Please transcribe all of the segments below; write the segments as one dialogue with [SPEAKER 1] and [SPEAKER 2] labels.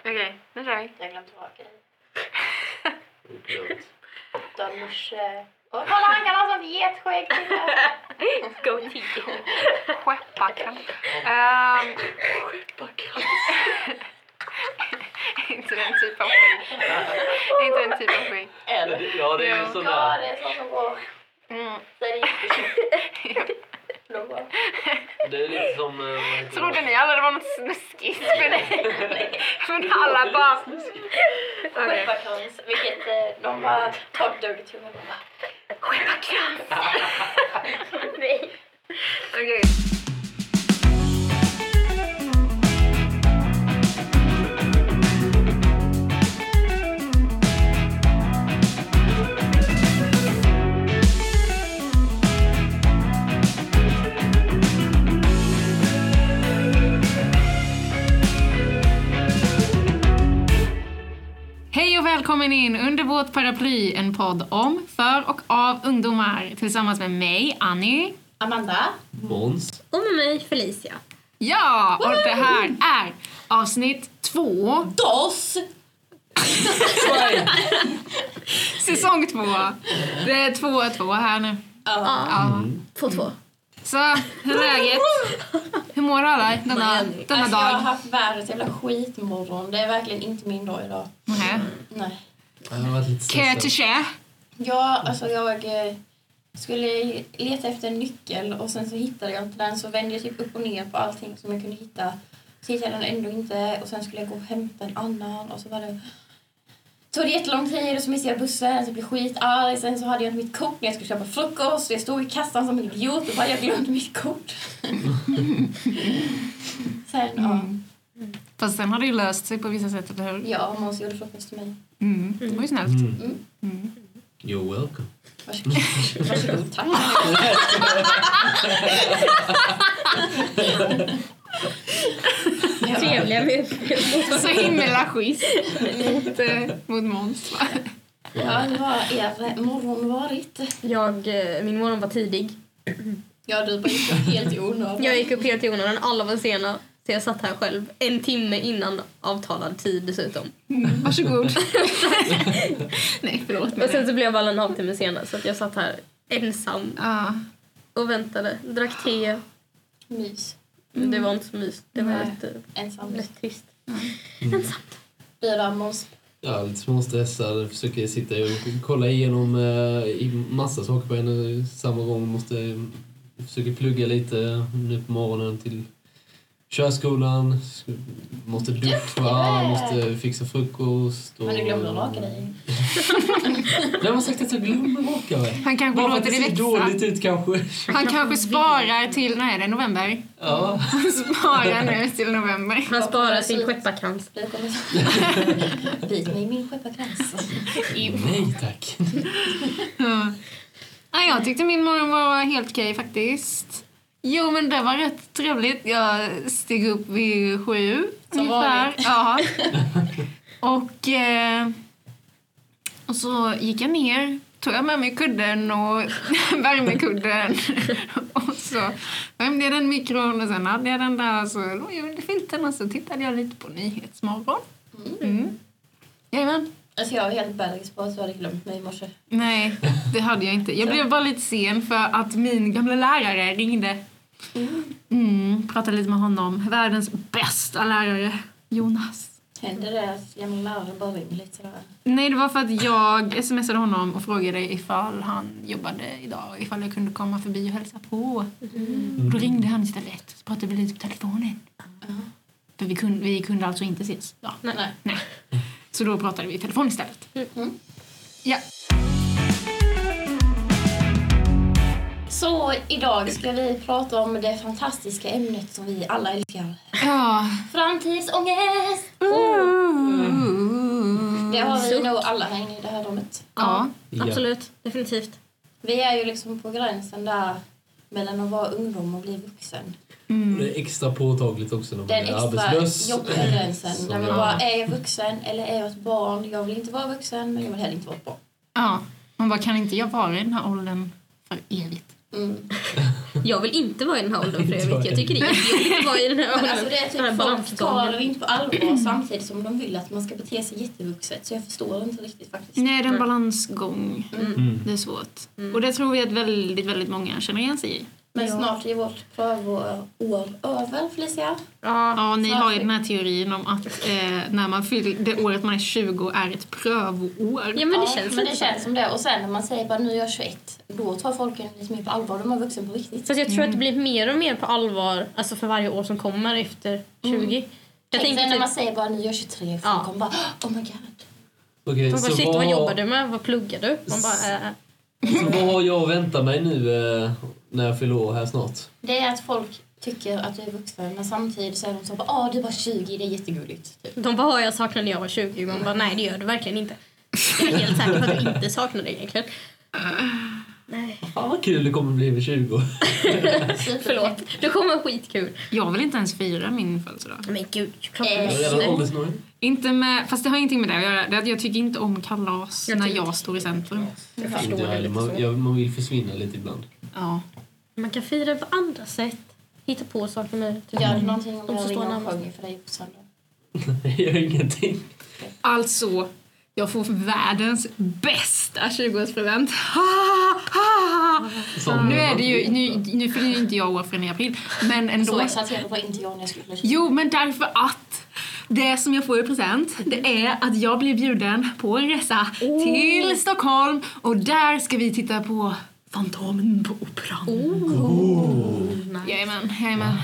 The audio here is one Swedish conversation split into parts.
[SPEAKER 1] Okej, nu kör vi.
[SPEAKER 2] Jag har glömt vara grej.
[SPEAKER 3] Dumt.
[SPEAKER 2] Du har morse... Oj, kolla han kan ha sånt getskägg!
[SPEAKER 1] Goatee. Skepparkant. Ehm, inte den typen av skägg. Inte den typen av skägg.
[SPEAKER 2] Eller?
[SPEAKER 3] Ja, det är ju
[SPEAKER 1] Ja.
[SPEAKER 2] Ja,
[SPEAKER 3] sådär.
[SPEAKER 2] det är sånt som går...
[SPEAKER 1] Mm.
[SPEAKER 2] Där är jättekul. De bara,
[SPEAKER 3] Det är lite som... eh, vad heter
[SPEAKER 1] Trodde
[SPEAKER 3] det?
[SPEAKER 1] ni alla det var något snuskigt med det?
[SPEAKER 2] nej.
[SPEAKER 1] Men alla bara... Okej.
[SPEAKER 2] Skepparkrans, vilket eh, de bara tar duggtuggan och bara Skepparkrans! Nej.
[SPEAKER 1] Okej.
[SPEAKER 4] Hej och välkommen in under vårt paraply, en podd om, för och av ungdomar tillsammans med mig, Annie.
[SPEAKER 2] Amanda?
[SPEAKER 3] Måns.
[SPEAKER 5] Och med mig Felicia.
[SPEAKER 4] Ja, och det här är avsnitt två,
[SPEAKER 2] Dos!
[SPEAKER 4] säsong två. Det är två och två här nu. Ja.
[SPEAKER 5] 2-2.
[SPEAKER 4] Så, hur är läget? Hur mår alla denna, denna
[SPEAKER 2] Alltså, jag har
[SPEAKER 4] dag?
[SPEAKER 2] haft världens jävla skitmorgon. Det är verkligen inte min dag idag.
[SPEAKER 4] Nähä.
[SPEAKER 2] Nej.
[SPEAKER 3] Jag har varit lite
[SPEAKER 4] Kö till
[SPEAKER 3] stressad.
[SPEAKER 4] kö.
[SPEAKER 2] Ja, alltså jag eh, skulle leta efter en nyckel och sen så hittade jag inte den så vände jag typ upp och ner på allting som jag kunde hitta. Så hittade jag den ändå inte och sen skulle jag gå och hämta en annan och så var det... Tog det jättelång tid och så missade jag bussen så jag blev skitarg. Sen så hade jag inte mitt kort när jag skulle köpa frukost jag stod i kassan som en idiot och bara jag glömde mitt kort. sen, ja.
[SPEAKER 4] Fast sen har det ju löst sig på vissa sätt, eller hur?
[SPEAKER 2] Ja, Måns gjorde frukost till mig.
[SPEAKER 4] Mm, det var ju snällt.
[SPEAKER 3] Mm. You're welcome.
[SPEAKER 2] Varsågod. Varsågod, tack. Ja.
[SPEAKER 5] Trevliga med
[SPEAKER 4] Så himla schysst mot, eh, mot Måns. va?
[SPEAKER 2] Ja, hur har er morgon varit?
[SPEAKER 5] Jag, eh, min morgon var tidig.
[SPEAKER 2] Ja, du bara gick upp helt i onödan.
[SPEAKER 5] Jag gick upp helt i onödan, alla var sena. Så jag satt här själv en timme innan avtalad tid dessutom.
[SPEAKER 4] Mm, Varsågod. Nej, förlåt.
[SPEAKER 5] Och sen så blev alla en halvtimme sena så att jag satt här ensam
[SPEAKER 4] Ja,
[SPEAKER 5] och väntade. Drack te.
[SPEAKER 2] Mys.
[SPEAKER 5] Men det var inte så mys. Det var
[SPEAKER 2] Nej.
[SPEAKER 5] lite,
[SPEAKER 2] Ensam.
[SPEAKER 5] lite trist.
[SPEAKER 2] Fyra Måns.
[SPEAKER 3] Jag är lite småstressad. Försöker sitta och kolla igenom eh, i massa saker på en och samma gång. Måste försöka plugga lite nu på morgonen till körskolan. Sk- Måste duscha,
[SPEAKER 2] Duktig!
[SPEAKER 3] måste fixa frukost. Och...
[SPEAKER 2] Men du glömde att raka dig.
[SPEAKER 3] Vem har sagt att jag glömmer raka mig?
[SPEAKER 4] han kanske
[SPEAKER 3] Bara för att
[SPEAKER 4] låter
[SPEAKER 3] det
[SPEAKER 4] det
[SPEAKER 3] ser
[SPEAKER 4] växa.
[SPEAKER 3] dåligt ut kanske.
[SPEAKER 4] Han kanske sparar till, när är det, november?
[SPEAKER 3] Ja.
[SPEAKER 4] Han sparar nu till november.
[SPEAKER 5] Han sparar sin skepparkrans.
[SPEAKER 2] Du kommer så- Bit mig i min skepparkrans.
[SPEAKER 3] Nej tack.
[SPEAKER 4] Ja. Ja, jag tyckte min morgon var helt okej faktiskt. Jo men det var rätt trevligt. Jag steg upp vid sju
[SPEAKER 2] Som
[SPEAKER 4] ungefär.
[SPEAKER 2] vanligt.
[SPEAKER 4] Ja. Och, eh, och så gick jag ner, tog jag med mig kudden och värmekudden. och så värmde jag den i mikron och sen hade jag den där så låg jag under filten och så tittade jag lite på Nyhetsmorgon. Mm. Jajamän.
[SPEAKER 2] Alltså jag var helt bergis på att du hade glömt mig i morse.
[SPEAKER 4] Nej, det hade jag inte. Jag blev bara lite sen för att min gamla lärare ringde. Mm, pratade lite med honom. Världens bästa lärare, Jonas.
[SPEAKER 2] Händer det att gamla lärare bara ringer lite sådär?
[SPEAKER 4] Nej, det var för att jag smsade honom och frågade ifall han jobbade idag. Ifall jag kunde komma förbi och hälsa på.
[SPEAKER 2] Mm.
[SPEAKER 4] Och då ringde han istället. Så pratade vi lite på telefonen. För vi kunde, vi kunde alltså inte ses. Ja.
[SPEAKER 2] Nej.
[SPEAKER 4] Nej. Så då pratade vi i telefon istället.
[SPEAKER 2] Mm.
[SPEAKER 4] Ja.
[SPEAKER 2] Så idag ska vi prata om det fantastiska ämnet som vi alla älskar.
[SPEAKER 4] Ja.
[SPEAKER 2] Framtidsångest!
[SPEAKER 5] Mm. Oh.
[SPEAKER 2] Mm. Det har vi
[SPEAKER 5] Suck.
[SPEAKER 2] nog alla här inne i det här rummet.
[SPEAKER 4] Ja.
[SPEAKER 5] Absolut, definitivt.
[SPEAKER 2] Vi är ju liksom på gränsen där mellan att vara ungdom och bli vuxen.
[SPEAKER 3] Det är extra påtagligt också när man
[SPEAKER 2] Den
[SPEAKER 3] är
[SPEAKER 2] extra
[SPEAKER 3] arbetslös.
[SPEAKER 2] jobbiga gränsen.
[SPEAKER 3] Som
[SPEAKER 2] Där man
[SPEAKER 3] jag.
[SPEAKER 2] bara, är jag vuxen eller är jag ett barn? Jag vill inte vara vuxen men jag vill heller inte vara ett barn.
[SPEAKER 4] Ja, man bara kan inte jag vara i den här åldern för evigt?
[SPEAKER 2] Mm.
[SPEAKER 5] Jag vill inte vara i den här åldern Fredrik. Jag tycker det är jättejobbigt att vara i den här
[SPEAKER 2] Men
[SPEAKER 5] åldern.
[SPEAKER 2] alltså det är
[SPEAKER 5] Den här
[SPEAKER 2] typ folk
[SPEAKER 5] balansgången.
[SPEAKER 2] tar det inte på allvar samtidigt som de vill att man ska bete sig jättevuxet. Så jag förstår inte riktigt faktiskt.
[SPEAKER 4] Nej, det är en balansgång.
[SPEAKER 3] Mm.
[SPEAKER 4] Det är svårt. Och det tror vi att väldigt, väldigt många känner igen sig i.
[SPEAKER 2] Men snart är vårt prövoår över Felicia.
[SPEAKER 4] Ja, ni
[SPEAKER 2] snart
[SPEAKER 4] har ju
[SPEAKER 2] är-
[SPEAKER 4] den här teorin om att eh, när man fyller, det året man är 20 är ett prövoår.
[SPEAKER 5] Ja men det
[SPEAKER 2] Ja,
[SPEAKER 5] känns
[SPEAKER 2] men
[SPEAKER 5] lite
[SPEAKER 2] det
[SPEAKER 5] så.
[SPEAKER 2] känns som det. Och sen när man säger bara nu är jag 21, då tar folk en lite mer på allvar. De är vuxen på riktigt.
[SPEAKER 5] Fast jag tror att det blir mer och mer på allvar alltså för varje år som kommer efter 20. Jag
[SPEAKER 2] Tänk sen
[SPEAKER 5] tänker
[SPEAKER 2] när
[SPEAKER 5] typ,
[SPEAKER 2] man säger bara nu är jag 23, folk
[SPEAKER 5] Ja.
[SPEAKER 2] kommer bara oh my god.
[SPEAKER 3] Okej,
[SPEAKER 5] man bara,
[SPEAKER 3] så,
[SPEAKER 5] shit vad
[SPEAKER 3] vad-
[SPEAKER 5] jobbar du med? Vad pluggar du? Man bara, eh,
[SPEAKER 3] så vad har jag att vänta mig nu eh, när jag fyller år här snart?
[SPEAKER 2] Det är att folk tycker att du är vuxen men samtidigt så är de så bara ah du är bara 20, det är jättegulligt. Typ.
[SPEAKER 5] de bara, jag saknar när jag var 20. Man bara, nej det gör du verkligen inte. Jag är helt säker på att du inte saknar det egentligen. Nej,
[SPEAKER 3] Fan vad kul det kommer bli vid 20.
[SPEAKER 5] förlåt. Det kommer vara skitkul.
[SPEAKER 4] Jag vill inte ens fira min födelsedag.
[SPEAKER 5] Men gud, klart
[SPEAKER 2] Eh,
[SPEAKER 5] det
[SPEAKER 3] Jag är
[SPEAKER 5] är
[SPEAKER 3] redan
[SPEAKER 5] snö.
[SPEAKER 3] åldersnöjd.
[SPEAKER 4] Inte med, fast det har ingenting med det att göra. Det är att jag tycker inte om kalas
[SPEAKER 5] Jag
[SPEAKER 4] när
[SPEAKER 5] tycker
[SPEAKER 4] jag står i centrum.
[SPEAKER 5] Jag
[SPEAKER 3] Inte
[SPEAKER 5] förstår
[SPEAKER 3] jag
[SPEAKER 5] det
[SPEAKER 3] heller.
[SPEAKER 5] lite
[SPEAKER 3] Man,
[SPEAKER 5] så.
[SPEAKER 3] jag, man vill försvinna lite ibland.
[SPEAKER 4] Ja.
[SPEAKER 5] Man kan fira på andra sätt. Hitta på saker med. Typ.
[SPEAKER 2] Gör det någonting om
[SPEAKER 5] Och så
[SPEAKER 2] jag
[SPEAKER 5] står
[SPEAKER 2] ringer och
[SPEAKER 5] namnet.
[SPEAKER 2] sjunger för dig på söndag?
[SPEAKER 3] Jag gör ingenting.
[SPEAKER 4] Alltså, jag får världens bästa 20-årspresent. Ha, ha, ha.
[SPEAKER 3] Som-
[SPEAKER 4] Nu är det ju, nu, nu fyller ju inte jag år förrän i april, men
[SPEAKER 2] Så
[SPEAKER 4] ändå.
[SPEAKER 2] exalterad var inte jag när jag skulle bli
[SPEAKER 4] Jo, men därför att det som jag får i present det är att jag blir bjuden på en resa till Stockholm och där ska vi titta på Fantomen på Operan. Jajamän, jajamän.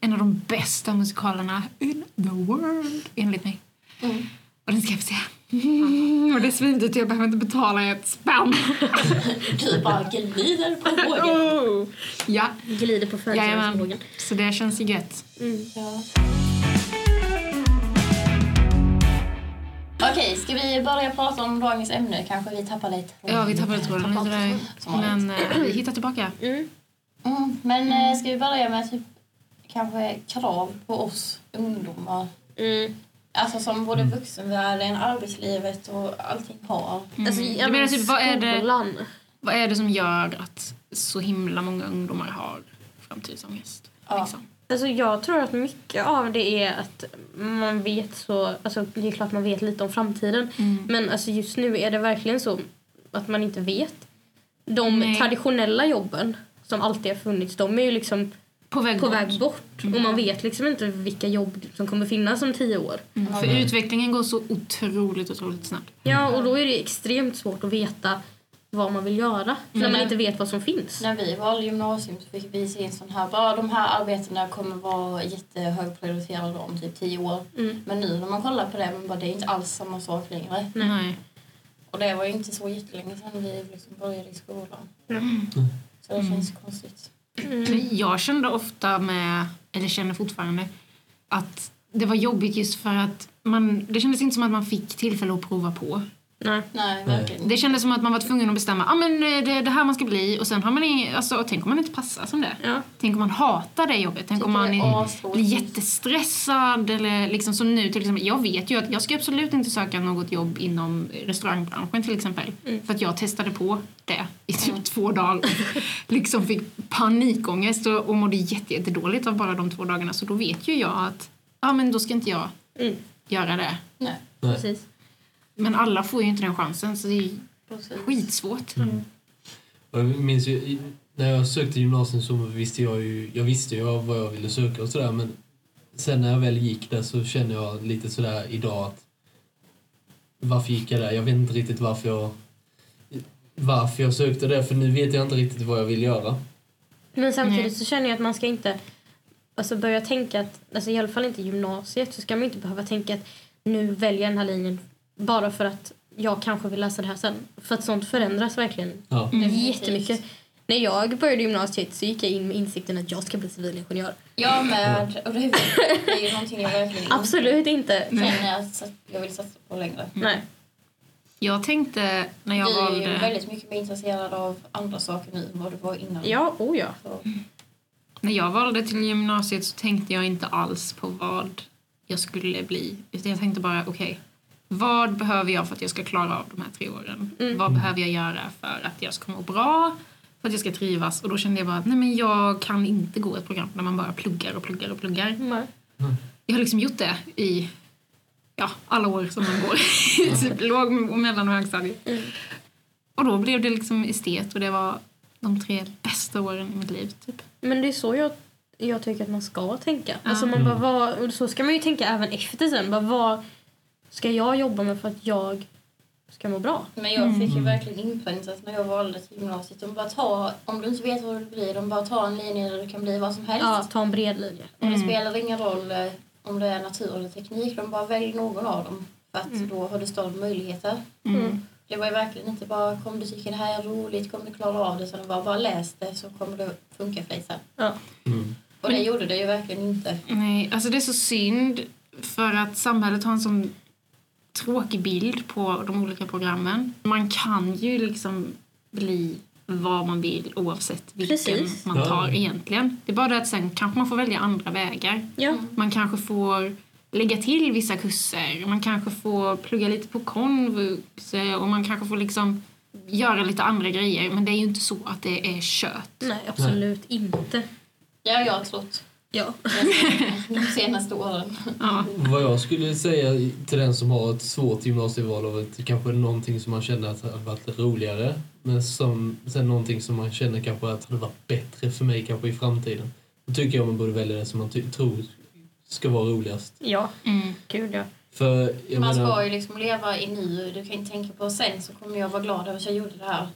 [SPEAKER 4] En av de bästa musikalerna in the world, enligt mig. Och den ska jag få se. Mm, och det är svindyrt, jag behöver inte betala ett spänn.
[SPEAKER 2] Du Typ bara glider på vågen.
[SPEAKER 4] Ja,
[SPEAKER 5] Glider på
[SPEAKER 4] jajamän.
[SPEAKER 5] födelsedagsvågen.
[SPEAKER 4] Så det känns ju gött.
[SPEAKER 2] Ja. Okej, ska vi börja prata om dagens ämne? Kanske vi tappar lite.
[SPEAKER 4] Ja, vi tappade tråden lite där.
[SPEAKER 2] Som vanligt.
[SPEAKER 4] Men eh, vi hittar tillbaka.
[SPEAKER 2] Mm, men eh, ska vi börja med typ kanske krav på oss ungdomar?
[SPEAKER 5] Mm.
[SPEAKER 2] Alltså som både vuxenvärlden, arbetslivet och allting har.
[SPEAKER 5] Alltså,
[SPEAKER 4] Jag menar typ, vad är det-
[SPEAKER 5] skolan.
[SPEAKER 4] Vad är det som gör att så himla många ungdomar har framtidsångest?
[SPEAKER 2] Ja.
[SPEAKER 4] Liksom?
[SPEAKER 5] Alltså jag tror att mycket av det är att man vet så, alltså det är klart man vet lite om framtiden
[SPEAKER 4] Mm.
[SPEAKER 5] men alltså just nu är det verkligen så att man inte vet. De
[SPEAKER 4] Nej.
[SPEAKER 5] traditionella jobben som alltid har funnits de är ju liksom
[SPEAKER 4] På väg
[SPEAKER 5] på
[SPEAKER 4] bort.
[SPEAKER 5] väg bort och man vet liksom inte vilka jobb som kommer finnas om tio år.
[SPEAKER 4] Mm, För utvecklingen går så otroligt, otroligt snabbt.
[SPEAKER 5] Ja och då är det extremt svårt att veta vad man vill göra
[SPEAKER 4] Mm.
[SPEAKER 5] när man inte vet vad som finns.
[SPEAKER 2] När vi valde gymnasium så fick vi se en sån här, bara de här arbetena kommer vara jättehögprioriterade om typ tio år. Men nu när man kollar på det, man bara, det är inte alls samma sak längre.
[SPEAKER 4] Nej.
[SPEAKER 2] Och det var ju inte så jättelänge sedan vi liksom började i skolan. Så det känns konstigt.
[SPEAKER 4] Men Jag kände ofta med, eller känner fortfarande, att det var jobbigt just för att man, det kändes inte som att man fick tillfälle att prova på.
[SPEAKER 5] Nej.
[SPEAKER 2] Nej, verkligen.
[SPEAKER 4] Det kändes som att man var tvungen att bestämma, ah, men eh, det är det här man ska bli och sen har man ingen, alltså tänk om man inte passar som det.
[SPEAKER 5] Ja.
[SPEAKER 4] Tänk om man hatar det jobbet, tänk om man
[SPEAKER 2] det är
[SPEAKER 4] är, blir
[SPEAKER 2] astråkigt.
[SPEAKER 4] jättestressad eller liksom som nu till exempel. Jag vet ju att jag ska absolut inte söka något jobb inom restaurangbranschen till exempel. För att jag testade på det i typ två dagar och liksom fick panikångest och, och mådde jätte- jättedåligt av bara de två dagarna. Så då vet ju jag att, ja men då ska inte jag
[SPEAKER 5] Mm.
[SPEAKER 4] göra det.
[SPEAKER 2] Nej,
[SPEAKER 5] Precis.
[SPEAKER 4] Men alla får ju inte den chansen så det är ju
[SPEAKER 2] precis.
[SPEAKER 4] skitsvårt.
[SPEAKER 3] Och Jag minns ju, i- när jag sökte gymnasium så visste jag ju, jag visste ju vad jag ville söka och sådär men sen när jag väl gick där så känner jag lite sådär idag att varför gick jag där? Jag vet inte riktigt varför jag varför jag sökte det för nu vet jag inte riktigt vad jag vill göra.
[SPEAKER 5] Men samtidigt
[SPEAKER 4] Nej.
[SPEAKER 5] så känner jag att man ska inte alltså börja tänka att, alltså i alla fall inte i gymnasiet, så ska man inte behöva tänka att nu väljer jag den här linjen bara för att jag kanske vill läsa det här sen. För att sånt förändras verkligen
[SPEAKER 3] Ja.
[SPEAKER 5] jättemycket. När jag började gymnasiet så gick jag in med insikten att jag ska bli civilingenjör.
[SPEAKER 2] Jag med. Och det är- det är ju någonting jag verkligen
[SPEAKER 5] Absolut inte.
[SPEAKER 2] känner att sat- jag vill satsa på längre.
[SPEAKER 5] Nej.
[SPEAKER 4] Jag tänkte när jag
[SPEAKER 2] Vi är ju
[SPEAKER 4] valde...
[SPEAKER 2] väldigt mycket mer intresserade av andra saker nu än vad det var innan.
[SPEAKER 5] Ja, oh ja.
[SPEAKER 2] Så,
[SPEAKER 4] När jag valde till gymnasiet så tänkte jag inte alls på vad jag skulle bli. Utan jag tänkte bara, okej, vad
[SPEAKER 2] Mm.
[SPEAKER 4] behöver jag för att jag ska klara av de här tre åren? Vad behöver jag göra för att jag ska må bra? för att jag ska trivas. Och då kände jag bara att nej men jag kan inte gå ett program när man bara pluggar och pluggar och pluggar.
[SPEAKER 5] Nej.
[SPEAKER 4] Jag har liksom gjort det i ja, alla år som man går i typ låg och mellan och högstadiet. Och då blev det liksom estet och det var de tre bästa åren i mitt liv. Typ.
[SPEAKER 5] Men det är så jag, jag tycker att man ska tänka.
[SPEAKER 4] Ja.
[SPEAKER 5] Alltså man bara, vad, och så ska man ju tänka även efter sen. Bara, vad ska jag jobba med för att jag ska må bra?
[SPEAKER 2] Men jag fick ju verkligen inpräntat när jag valde till gymnasiet. De bara ta, om du inte vet vad du vill bli, de bara ta en linje där du kan bli vad som helst.
[SPEAKER 5] Ja, ta en bred linje.
[SPEAKER 2] Och det spelar ingen roll eh, om det är natur eller teknik, de bara välj någon av dem. För att
[SPEAKER 5] Mm.
[SPEAKER 2] då har du större möjligheter. Det var ju verkligen inte bara kom du tycka det här är roligt, kom du klara av det, utan det var bara läs det så kommer det funka för dig sen.
[SPEAKER 5] Ja.
[SPEAKER 2] Och det gjorde det ju verkligen inte.
[SPEAKER 4] Nej, alltså det är så synd för att samhället har en sån tråkig bild på de olika programmen. Man kan ju liksom bli vad man vill oavsett vilken
[SPEAKER 5] Precis.
[SPEAKER 4] man
[SPEAKER 3] Ja.
[SPEAKER 4] tar egentligen. Det är bara det att sen kanske man får välja andra vägar.
[SPEAKER 5] Ja.
[SPEAKER 4] Man kanske får lägga till vissa kurser. Man kanske får plugga lite på konvux eh, och man kanske får liksom göra lite andra grejer. Men det är ju inte så att det är kött.
[SPEAKER 5] Nej, absolut inte.
[SPEAKER 2] Ja, jag har trott
[SPEAKER 5] Ja.
[SPEAKER 2] de senaste åren.
[SPEAKER 4] Ja.
[SPEAKER 3] Vad jag skulle säga till den som har ett svårt gymnasieval av ett, kanske någonting som man känner att hade varit roligare men som, sen någonting som man känner kanske att hade varit bättre för mig kanske i framtiden. Då tycker jag man borde välja det som man ty- tror ska vara roligast.
[SPEAKER 5] Ja,
[SPEAKER 4] Mm.
[SPEAKER 5] gud ja.
[SPEAKER 3] För jag
[SPEAKER 2] Man
[SPEAKER 3] menar,
[SPEAKER 2] ska ju liksom leva i nu. Du kan inte tänka på sen så kommer jag vara glad över att jag gjorde det här.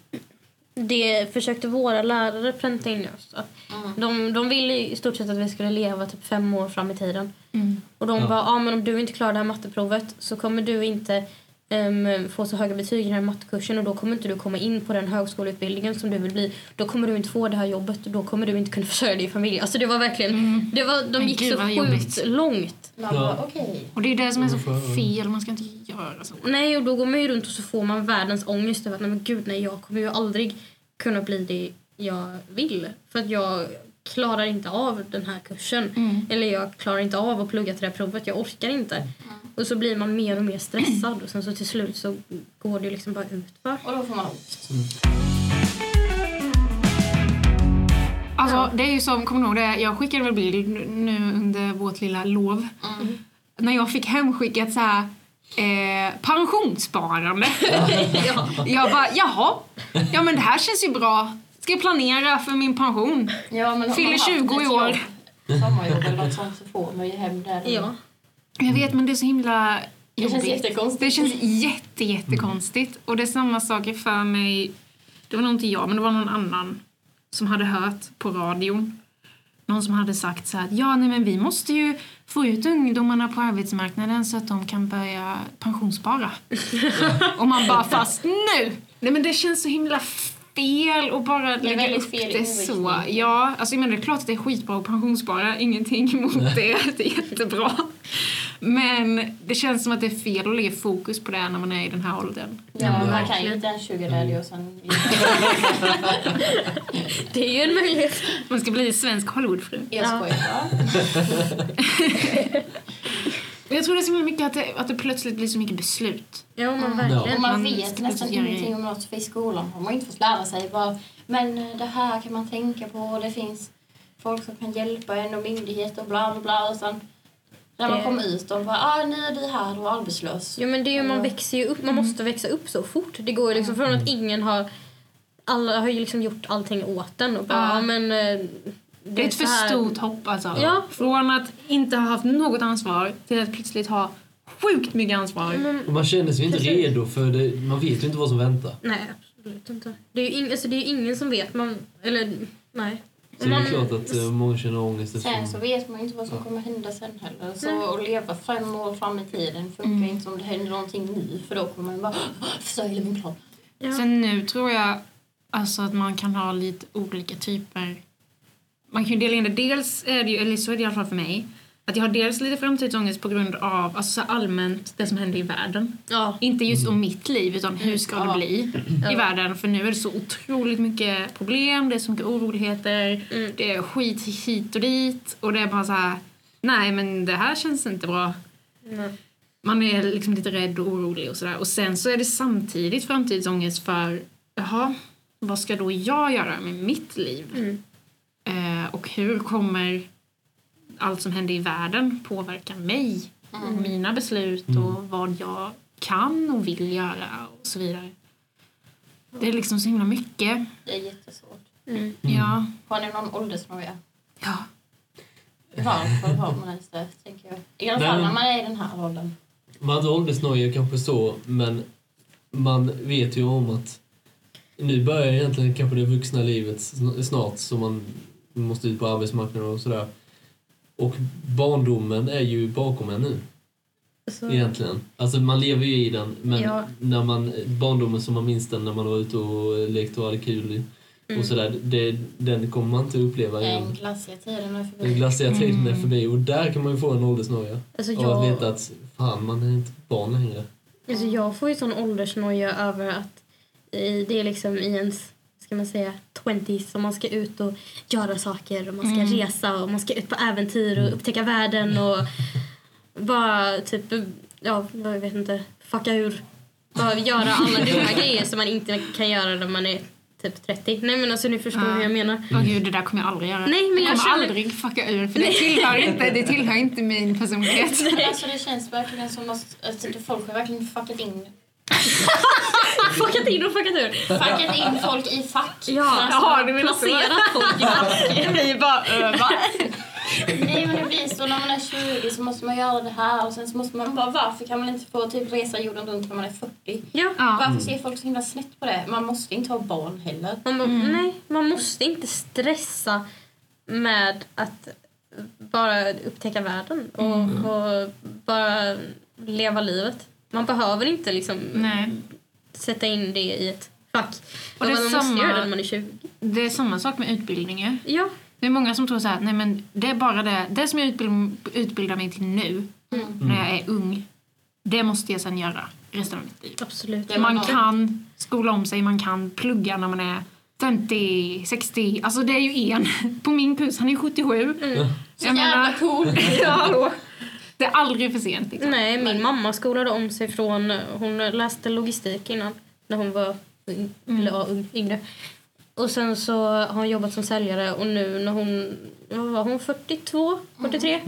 [SPEAKER 5] Det försökte våra lärare pränta in i oss. Att
[SPEAKER 2] Mm.
[SPEAKER 5] De, de ville i stort sett att vi skulle leva typ fem år fram i tiden.
[SPEAKER 4] Mm.
[SPEAKER 5] Och de
[SPEAKER 3] Ja.
[SPEAKER 5] bara, ah, men om du inte klarar det här matteprovet så kommer du inte ehm, få så höga betyg i den här mattekursen och då kommer inte du komma in på den högskoleutbildningen som du vill bli. Då kommer du inte få det här jobbet och då kommer du inte kunna försörja din familj. Alltså det var verkligen, det var, de
[SPEAKER 4] Mm. Men
[SPEAKER 5] gick
[SPEAKER 4] gud,
[SPEAKER 5] så
[SPEAKER 4] vad
[SPEAKER 5] sjukt
[SPEAKER 4] jobbigt.
[SPEAKER 5] långt.
[SPEAKER 2] Man
[SPEAKER 3] Ja.
[SPEAKER 2] bara, okej.
[SPEAKER 4] Och det är det som är så
[SPEAKER 3] Ungefär.
[SPEAKER 4] fel. Man ska inte göra så.
[SPEAKER 5] Nej, och då går man ju runt och så får man världens ångest över att nej men gud nej, jag kommer ju aldrig kunna bli det jag vill. För att jag klarar inte av den här kursen.
[SPEAKER 4] Mm.
[SPEAKER 5] Eller jag klarar inte av att plugga till det här provet, jag orkar inte. Och så blir man mer och mer stressad och sen så till slut så går det ju liksom bara utför.
[SPEAKER 2] Och då får man ont.
[SPEAKER 4] Alltså, det är ju som, kommer du ihåg det? Jag skickade väl bild nu under vårt lilla lov. När jag fick hemskickat så här eh, pensionssparande. Jag bara, jaha. Ja men det här känns ju bra. Ska jag planera för min pension.
[SPEAKER 2] Ja, men har man
[SPEAKER 4] Fyller
[SPEAKER 2] haft
[SPEAKER 4] 20
[SPEAKER 2] ett
[SPEAKER 4] i år.
[SPEAKER 2] jobb, Sommarjobb eller något sånt så får man ju hem där.
[SPEAKER 5] Ja.
[SPEAKER 4] Jag vet men det är så himla
[SPEAKER 2] Det känns
[SPEAKER 4] jobbigt.
[SPEAKER 2] jättekonstigt.
[SPEAKER 4] Det känns jätte, jättekonstigt. Och det är samma sak för mig. Det var nog inte jag, men det var någon annan som hade hört på radion. Någon som hade sagt så här, ja nej men vi måste ju få ut ungdomarna på arbetsmarknaden så att de kan börja pensionsspara. och man bara, fast nu! Nej men det känns så himla fel och bara lägga
[SPEAKER 2] väldigt
[SPEAKER 4] upp
[SPEAKER 2] fel
[SPEAKER 4] det så.
[SPEAKER 2] inriktning.
[SPEAKER 4] Ja, alltså jag menar det är klart att det är skitbra att pensionsspara, ingenting emot det, det är jättebra. Men det känns som att det är fel att lägga fokus på det när man är i den här åldern.
[SPEAKER 2] Ja, man kan ju
[SPEAKER 5] verkligen.
[SPEAKER 2] inte ens 20 där och sen...
[SPEAKER 5] Det är ju en möjlighet.
[SPEAKER 4] Man ska bli svensk Hollywoodfru.
[SPEAKER 2] Jag skojar bara.
[SPEAKER 4] Jag tror det är så himla mycket att det, att det plötsligt blir så mycket beslut.
[SPEAKER 5] Ja men
[SPEAKER 2] Och
[SPEAKER 5] verkligen.
[SPEAKER 2] man
[SPEAKER 4] Man
[SPEAKER 2] vet
[SPEAKER 4] ska
[SPEAKER 2] nästan
[SPEAKER 4] göra grejer.
[SPEAKER 2] ingenting om något för i skolan har man inte fått lära sig. Bara, men eh, det här kan man tänka på och det finns folk som kan hjälpa en och myndigheter och bla bla bla. Och sen, när man
[SPEAKER 5] Det-
[SPEAKER 2] kommer ut de bara ah, nu är du här och arbetslös.
[SPEAKER 5] Jo men det är ju, man växer ju upp, man
[SPEAKER 4] Mm.
[SPEAKER 5] måste växa upp så fort. Det går ju liksom från att ingen har, alla har ju liksom gjort allting åt den och bara,
[SPEAKER 4] Ja.
[SPEAKER 5] ja men eh,
[SPEAKER 4] Det är ett
[SPEAKER 5] så
[SPEAKER 4] för
[SPEAKER 5] här."
[SPEAKER 4] stort hopp alltså.
[SPEAKER 5] Ja.
[SPEAKER 4] Från att inte ha haft något ansvar till att plötsligt ha sjukt mycket ansvar.
[SPEAKER 5] Mm,
[SPEAKER 3] Och man känner sig ju inte redo för det, man vet ju inte vad som väntar.
[SPEAKER 5] Nej absolut inte. Det är ju ing, alltså, det är ju ingen som vet, man, eller nej.
[SPEAKER 3] Så det är klart att eh, många känner ångest
[SPEAKER 2] Sen så
[SPEAKER 3] eftersom...
[SPEAKER 2] vet man inte vad som kommer hända sen heller. Så att leva fem år fram i tiden funkar inte om det händer någonting nu för då kommer man bara "Ah, försörja min plan.
[SPEAKER 5] Ja.
[SPEAKER 4] Sen nu tror jag alltså att man kan ha lite olika typer. Man kan ju dela in det. Dels är det ju, eller så är det i alla fall för mig, att jag har dels lite framtidsångest på grund av alltså så här allmänt det som händer i världen.
[SPEAKER 5] Ja.
[SPEAKER 4] Inte just om mitt liv, utan hur ska det bli i världen? För nu är det så otroligt mycket problem, det är så mycket oroligheter,
[SPEAKER 5] Mm.
[SPEAKER 4] det är skit hit och dit och det är bara så här, nej men det här känns inte bra.
[SPEAKER 5] Nej.
[SPEAKER 4] Man är liksom lite rädd och orolig och sådär. Och sen så är det samtidigt framtidsångest för, jaha, vad ska då jag göra med mitt liv?
[SPEAKER 5] Mm.
[SPEAKER 4] Eh, och hur kommer allt som händer i världen påverka mig?
[SPEAKER 5] Mm.
[SPEAKER 4] Och mina beslut och vad jag kan och vill göra och så vidare. Det är liksom så himla mycket.
[SPEAKER 2] Det är jättesvårt.
[SPEAKER 5] Mm.
[SPEAKER 4] Ja.
[SPEAKER 2] Har ni någon åldersnoja?
[SPEAKER 4] ja.
[SPEAKER 2] Varför har man ens det? Tänker jag. I alla
[SPEAKER 3] Nej,
[SPEAKER 2] fall
[SPEAKER 3] men-
[SPEAKER 2] när man är i den här åldern.
[SPEAKER 3] Man hade åldersnoja kanske så, men man vet ju om att nu börjar egentligen kanske det vuxna livet sn- snart så man måste ut på arbetsmarknaden och sådär. Och barndomen är ju bakom en nu
[SPEAKER 5] Så,
[SPEAKER 3] egentligen. Alltså man lever ju i den men
[SPEAKER 5] Mm. Ja.
[SPEAKER 3] när man, barndomen som man minns den när man var ute och lekte och hade kul i-
[SPEAKER 5] Mm.
[SPEAKER 3] och sådär, det, den kommer man inte uppleva
[SPEAKER 2] Den
[SPEAKER 3] igen.
[SPEAKER 2] glassiga tiden är
[SPEAKER 3] Den
[SPEAKER 2] förbi.
[SPEAKER 3] glassiga tiden är förbi och där kan man ju få en åldersnoja.
[SPEAKER 5] Mm. alltså,
[SPEAKER 3] Och att
[SPEAKER 5] jag,
[SPEAKER 3] veta att fan man är inte barn längre.
[SPEAKER 5] alltså, jag får ju sån åldersnoja över att i, det är liksom i ens ska man säga 20s som man ska ut och göra saker och man ska resa och man ska ut på äventyr och upptäcka världen och bara typ ja, jag vet inte, fucka ur. Bara göra alla dumma grejer som man inte kan göra när man är typ 30. Nej men alltså ni förstår
[SPEAKER 4] Ja.
[SPEAKER 5] hur jag menar.
[SPEAKER 4] Åh gud, det där kommer jag aldrig göra.
[SPEAKER 5] Nej, men
[SPEAKER 4] det
[SPEAKER 5] jag
[SPEAKER 4] kommer
[SPEAKER 5] känner-
[SPEAKER 4] aldrig fucka ur för det tillhör, inte, det tillhör inte min personlighet.
[SPEAKER 2] Men Alltså det känns verkligen som att alltså, folk har verkligen fuckat in
[SPEAKER 5] Fuckat in och fuckat ur.
[SPEAKER 2] fuckat in folk i fack.
[SPEAKER 5] Ja,
[SPEAKER 2] Alltså,
[SPEAKER 4] Jaha, du menar så?
[SPEAKER 5] Placerat folk i fack.
[SPEAKER 4] Vi bara, äh, va?
[SPEAKER 2] Nej men det blir så när man är 20 så måste man göra det här och sen så måste man bara varför kan man inte få typ resa jorden runt när man är 40?
[SPEAKER 5] Ja.
[SPEAKER 4] Ja.
[SPEAKER 2] Varför ser folk så himla snett på det? Man måste inte ha barn heller.
[SPEAKER 5] Man, må-
[SPEAKER 4] Mm.
[SPEAKER 5] Nej, man måste inte stressa med att bara upptäcka världen och,
[SPEAKER 4] Mm.
[SPEAKER 5] och bara leva livet. Man behöver inte liksom
[SPEAKER 4] Nej.
[SPEAKER 5] sätta in det i ett fack.
[SPEAKER 4] Och
[SPEAKER 5] Och
[SPEAKER 4] det är
[SPEAKER 5] man
[SPEAKER 4] samma-
[SPEAKER 5] måste göra det när man är 20.
[SPEAKER 4] Det är samma sak med utbildningar.
[SPEAKER 5] Ja,
[SPEAKER 4] Det är många som tror så här, nej men det är bara det, det som jag utbild, utbildar mig till nu,
[SPEAKER 5] Mm.
[SPEAKER 4] när jag är ung, det måste jag sen göra resten av mitt liv.
[SPEAKER 5] absolut.
[SPEAKER 2] Det
[SPEAKER 4] Man
[SPEAKER 2] man har.
[SPEAKER 4] kan skola om sig, man kan plugga när man är 50, 60, alltså det är ju en på min kurs, han är 77.
[SPEAKER 2] Så jävla cool!
[SPEAKER 4] ja, hallå. Det är aldrig för sent liksom.
[SPEAKER 5] Nej, min mamma skolade om sig från... Hon läste logistik innan, när hon var ung, eller, ja, ung, yngre. Och sen så har hon jobbat som säljare och nu när hon... Vad var hon? 42? 43?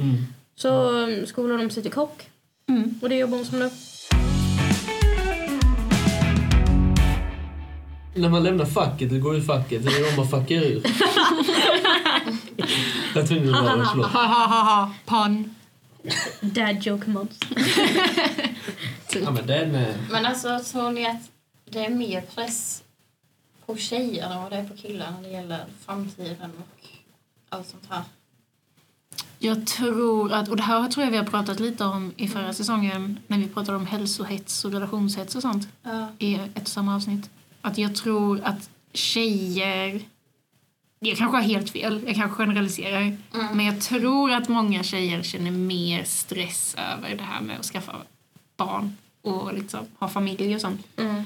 [SPEAKER 5] Så um, skolade hon sig till kock.
[SPEAKER 4] Mm.
[SPEAKER 5] Och det jobbar hon som nu.
[SPEAKER 3] När man lämnar facket, det går ur facket, det är de man fuckar ur. jag tror inte det var det, förlåt.
[SPEAKER 4] Mm. Ha, ha, ha, ha. Pan.
[SPEAKER 5] Dad joke moms.
[SPEAKER 3] Ja, men den eh, är...
[SPEAKER 2] Men alltså tror ni att det är mer press på tjejer än vad det är på killar när det gäller framtiden och allt sånt här?
[SPEAKER 4] Jag tror att, och det här tror jag vi har pratat lite om i förra säsongen när vi pratade om hälsohets och relationshets och sånt.
[SPEAKER 2] Ja.
[SPEAKER 4] i ett och samma avsnitt. Att jag tror att tjejer... Jag kanske har helt fel, jag kanske generaliserar. Men jag tror att många tjejer känner mer stress över det här med att skaffa barn och liksom ha familj och sånt.
[SPEAKER 5] Mm.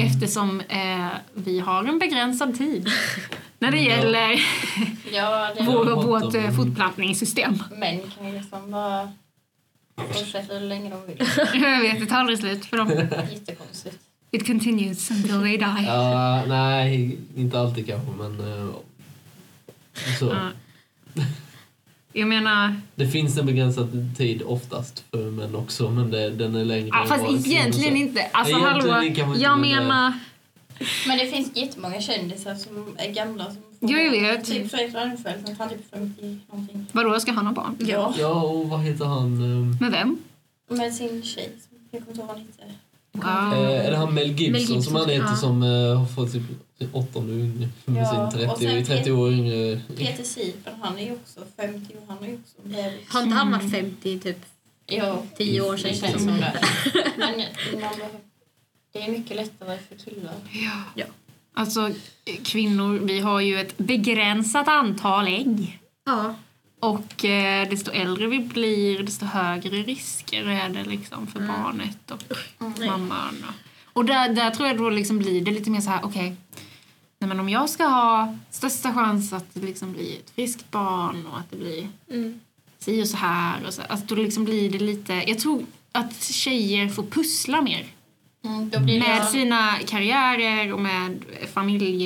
[SPEAKER 4] Eftersom eh, vi har en begränsad tid när det
[SPEAKER 3] Ja.
[SPEAKER 4] gäller
[SPEAKER 2] Ja, det
[SPEAKER 4] vår,
[SPEAKER 3] Ja,
[SPEAKER 4] vårt
[SPEAKER 3] botten.
[SPEAKER 4] eh, fortplantningssystem.
[SPEAKER 2] Män kan ju liksom bara fortsätta hur länge de vill.
[SPEAKER 4] jag vet, det tar aldrig slut för dem.
[SPEAKER 2] Jättekonstigt.
[SPEAKER 4] It continues until they die.
[SPEAKER 3] Ja, nej, inte alltid kanske, men... eh, Så.
[SPEAKER 4] Ja. Jag menar...
[SPEAKER 3] Det finns en begränsad tid oftast för män också, men det, den är längre.
[SPEAKER 4] Ja,
[SPEAKER 3] än
[SPEAKER 4] fast
[SPEAKER 3] vad det
[SPEAKER 4] egentligen
[SPEAKER 3] syns.
[SPEAKER 4] inte. Alltså
[SPEAKER 3] Nej, egentligen
[SPEAKER 4] hallå,
[SPEAKER 3] kan man inte
[SPEAKER 4] jag
[SPEAKER 3] göra det.
[SPEAKER 4] menar...
[SPEAKER 2] Men det finns jättemånga kändisar som är gamla. Som
[SPEAKER 4] Ja, jag vet.
[SPEAKER 2] Typ Fredrik Reinfeldt, som tar typ 50 någonting.
[SPEAKER 4] Vadå, ska han ha barn?
[SPEAKER 2] Ja.
[SPEAKER 3] Ja, och vad heter han? ehm,
[SPEAKER 4] Med vem?
[SPEAKER 2] Med sin tjej. som- Jag kommer inte ihåg vad han heter.
[SPEAKER 4] Wow.
[SPEAKER 3] eh, är det han Mel Gibson,
[SPEAKER 5] Mel Gibson,
[SPEAKER 3] som han heter
[SPEAKER 5] ja.
[SPEAKER 3] som eh, har fått typ sin åttonde unge med
[SPEAKER 2] Ja,
[SPEAKER 3] sin
[SPEAKER 2] och
[SPEAKER 3] 30,
[SPEAKER 2] sen
[SPEAKER 3] 30 år yngre.
[SPEAKER 2] Peter Siepen, han är ju också 50 och han är ju också en bebis.
[SPEAKER 5] Har inte han varit 50 typ
[SPEAKER 2] Ja,
[SPEAKER 5] 10 år
[SPEAKER 2] det
[SPEAKER 5] sedan?
[SPEAKER 2] känns som det. Men man behöver- det är mycket lättare för killar.
[SPEAKER 5] Ja.
[SPEAKER 4] Alltså, kvinnor, vi har ju ett begränsat antal ägg.
[SPEAKER 5] Ja.
[SPEAKER 4] Och eh, desto äldre vi blir, desto högre risker är det liksom för barnet och mamman. Och, och där, där tror jag då liksom blir det lite mer så här, okej. Nej, men om jag ska ha största chans att det liksom blir ett friskt barn och att det blir
[SPEAKER 5] Mm.
[SPEAKER 4] si och så här. Och så, alltså då liksom blir det lite, jag tror att tjejer får pussla mer
[SPEAKER 2] Mm, då blir det,
[SPEAKER 4] Med sina karriärer och med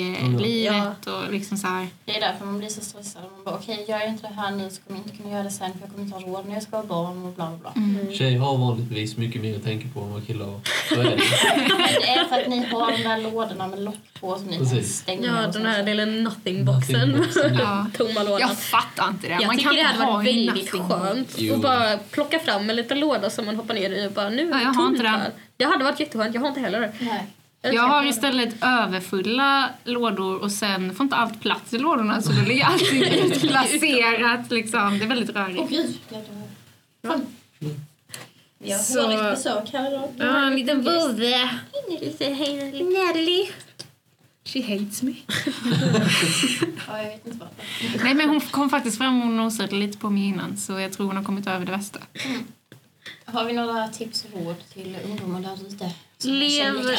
[SPEAKER 4] familjelivet och liksom så här.
[SPEAKER 2] det är därför man blir så stressad. Man bara okej, gör jag inte det här nu så kommer jag inte kunna göra det sen för jag kommer inte ha råd när jag ska vara barn och bla bla bla.
[SPEAKER 3] Tjejer har vanligtvis mycket mer att tänka på än vad killar har. Så är det.
[SPEAKER 2] Men det är för att ni har de där lådorna med lock på som ni kan
[SPEAKER 3] Precis.
[SPEAKER 2] stänga.
[SPEAKER 5] Ja,
[SPEAKER 2] och
[SPEAKER 5] den
[SPEAKER 2] så-
[SPEAKER 5] här liten nothing-boxen.
[SPEAKER 3] Nothing-boxen,
[SPEAKER 4] ja.
[SPEAKER 5] Tomma lådan.
[SPEAKER 4] Jag fattar inte det.
[SPEAKER 5] Jag
[SPEAKER 4] Man
[SPEAKER 5] tycker
[SPEAKER 4] kan
[SPEAKER 5] det
[SPEAKER 4] inte
[SPEAKER 5] hade
[SPEAKER 4] ha
[SPEAKER 5] varit
[SPEAKER 4] en
[SPEAKER 5] väldigt
[SPEAKER 4] nattning.
[SPEAKER 5] skönt
[SPEAKER 3] Jo.
[SPEAKER 5] att bara plocka fram en liten låda som man hoppar ner i och bara nu är
[SPEAKER 4] Ja, jag har
[SPEAKER 5] tomt
[SPEAKER 4] inte den.
[SPEAKER 5] här. Det hade varit jätteskönt, jag har inte heller det.
[SPEAKER 2] Nej.
[SPEAKER 4] Jag har istället överfulla lådor och sen får inte allt plats i lådorna så då ligger allting utplacerat. Liksom. Det är väldigt
[SPEAKER 2] Åh
[SPEAKER 5] Oh,
[SPEAKER 4] rörigt.
[SPEAKER 2] gud, jag dog. Fan. Vi har
[SPEAKER 4] Så-
[SPEAKER 2] så... besök här idag.
[SPEAKER 4] Ja, en liten vovve.
[SPEAKER 5] Lite hej, lite-
[SPEAKER 4] Nelly. She hates me.
[SPEAKER 2] Ja, jag vet inte varför.
[SPEAKER 4] Nej, men hon kom faktiskt fram och nosade lite på mig innan så jag tror hon har kommit över det värsta.
[SPEAKER 2] Har vi några tips och råd till ungdomar där ute? som
[SPEAKER 5] Lev
[SPEAKER 2] känner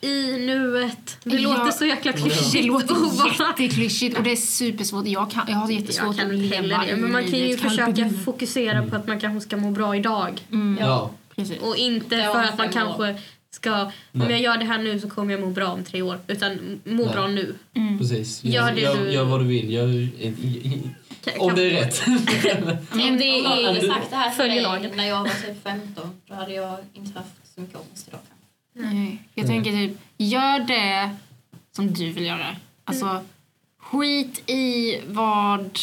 [SPEAKER 2] det?
[SPEAKER 5] i nuet. Det
[SPEAKER 4] Ja.
[SPEAKER 5] låter så jäkla
[SPEAKER 4] Det
[SPEAKER 5] klyschigt. att vara-
[SPEAKER 4] låter jätteklyschigt och det är supersvårt. Jag, kan, jag har jättesvårt
[SPEAKER 5] Jag kan
[SPEAKER 4] att
[SPEAKER 5] inte heller
[SPEAKER 4] leva
[SPEAKER 5] det, men man kan ju
[SPEAKER 4] livet.
[SPEAKER 5] försöka fokusera på att man kanske ska må bra idag.
[SPEAKER 3] Ja.
[SPEAKER 4] Precis.
[SPEAKER 5] Och inte
[SPEAKER 2] Ja,
[SPEAKER 5] för att man
[SPEAKER 2] fem år.
[SPEAKER 5] kanske ska, om
[SPEAKER 3] Nej.
[SPEAKER 5] jag gör det här nu så kommer jag må bra om tre år. Utan må
[SPEAKER 3] Nej.
[SPEAKER 5] bra nu.
[SPEAKER 3] Precis.
[SPEAKER 5] Gör
[SPEAKER 3] Gör,
[SPEAKER 5] det
[SPEAKER 3] gör,
[SPEAKER 5] du-
[SPEAKER 3] gör vad du vill. Gör, i- i-
[SPEAKER 5] Kan-
[SPEAKER 3] om
[SPEAKER 5] kan-
[SPEAKER 3] det är rätt.
[SPEAKER 5] Om det
[SPEAKER 2] Om någon
[SPEAKER 5] är...
[SPEAKER 2] hade sagt det här
[SPEAKER 5] följer
[SPEAKER 2] till mig
[SPEAKER 5] lagen.
[SPEAKER 2] när jag var typ 15 då hade jag inte haft så mycket ångest idag. kanske.
[SPEAKER 4] Nej. Jag tänker typ, gör det som du vill göra. Alltså,
[SPEAKER 5] Mm.
[SPEAKER 4] skit i vad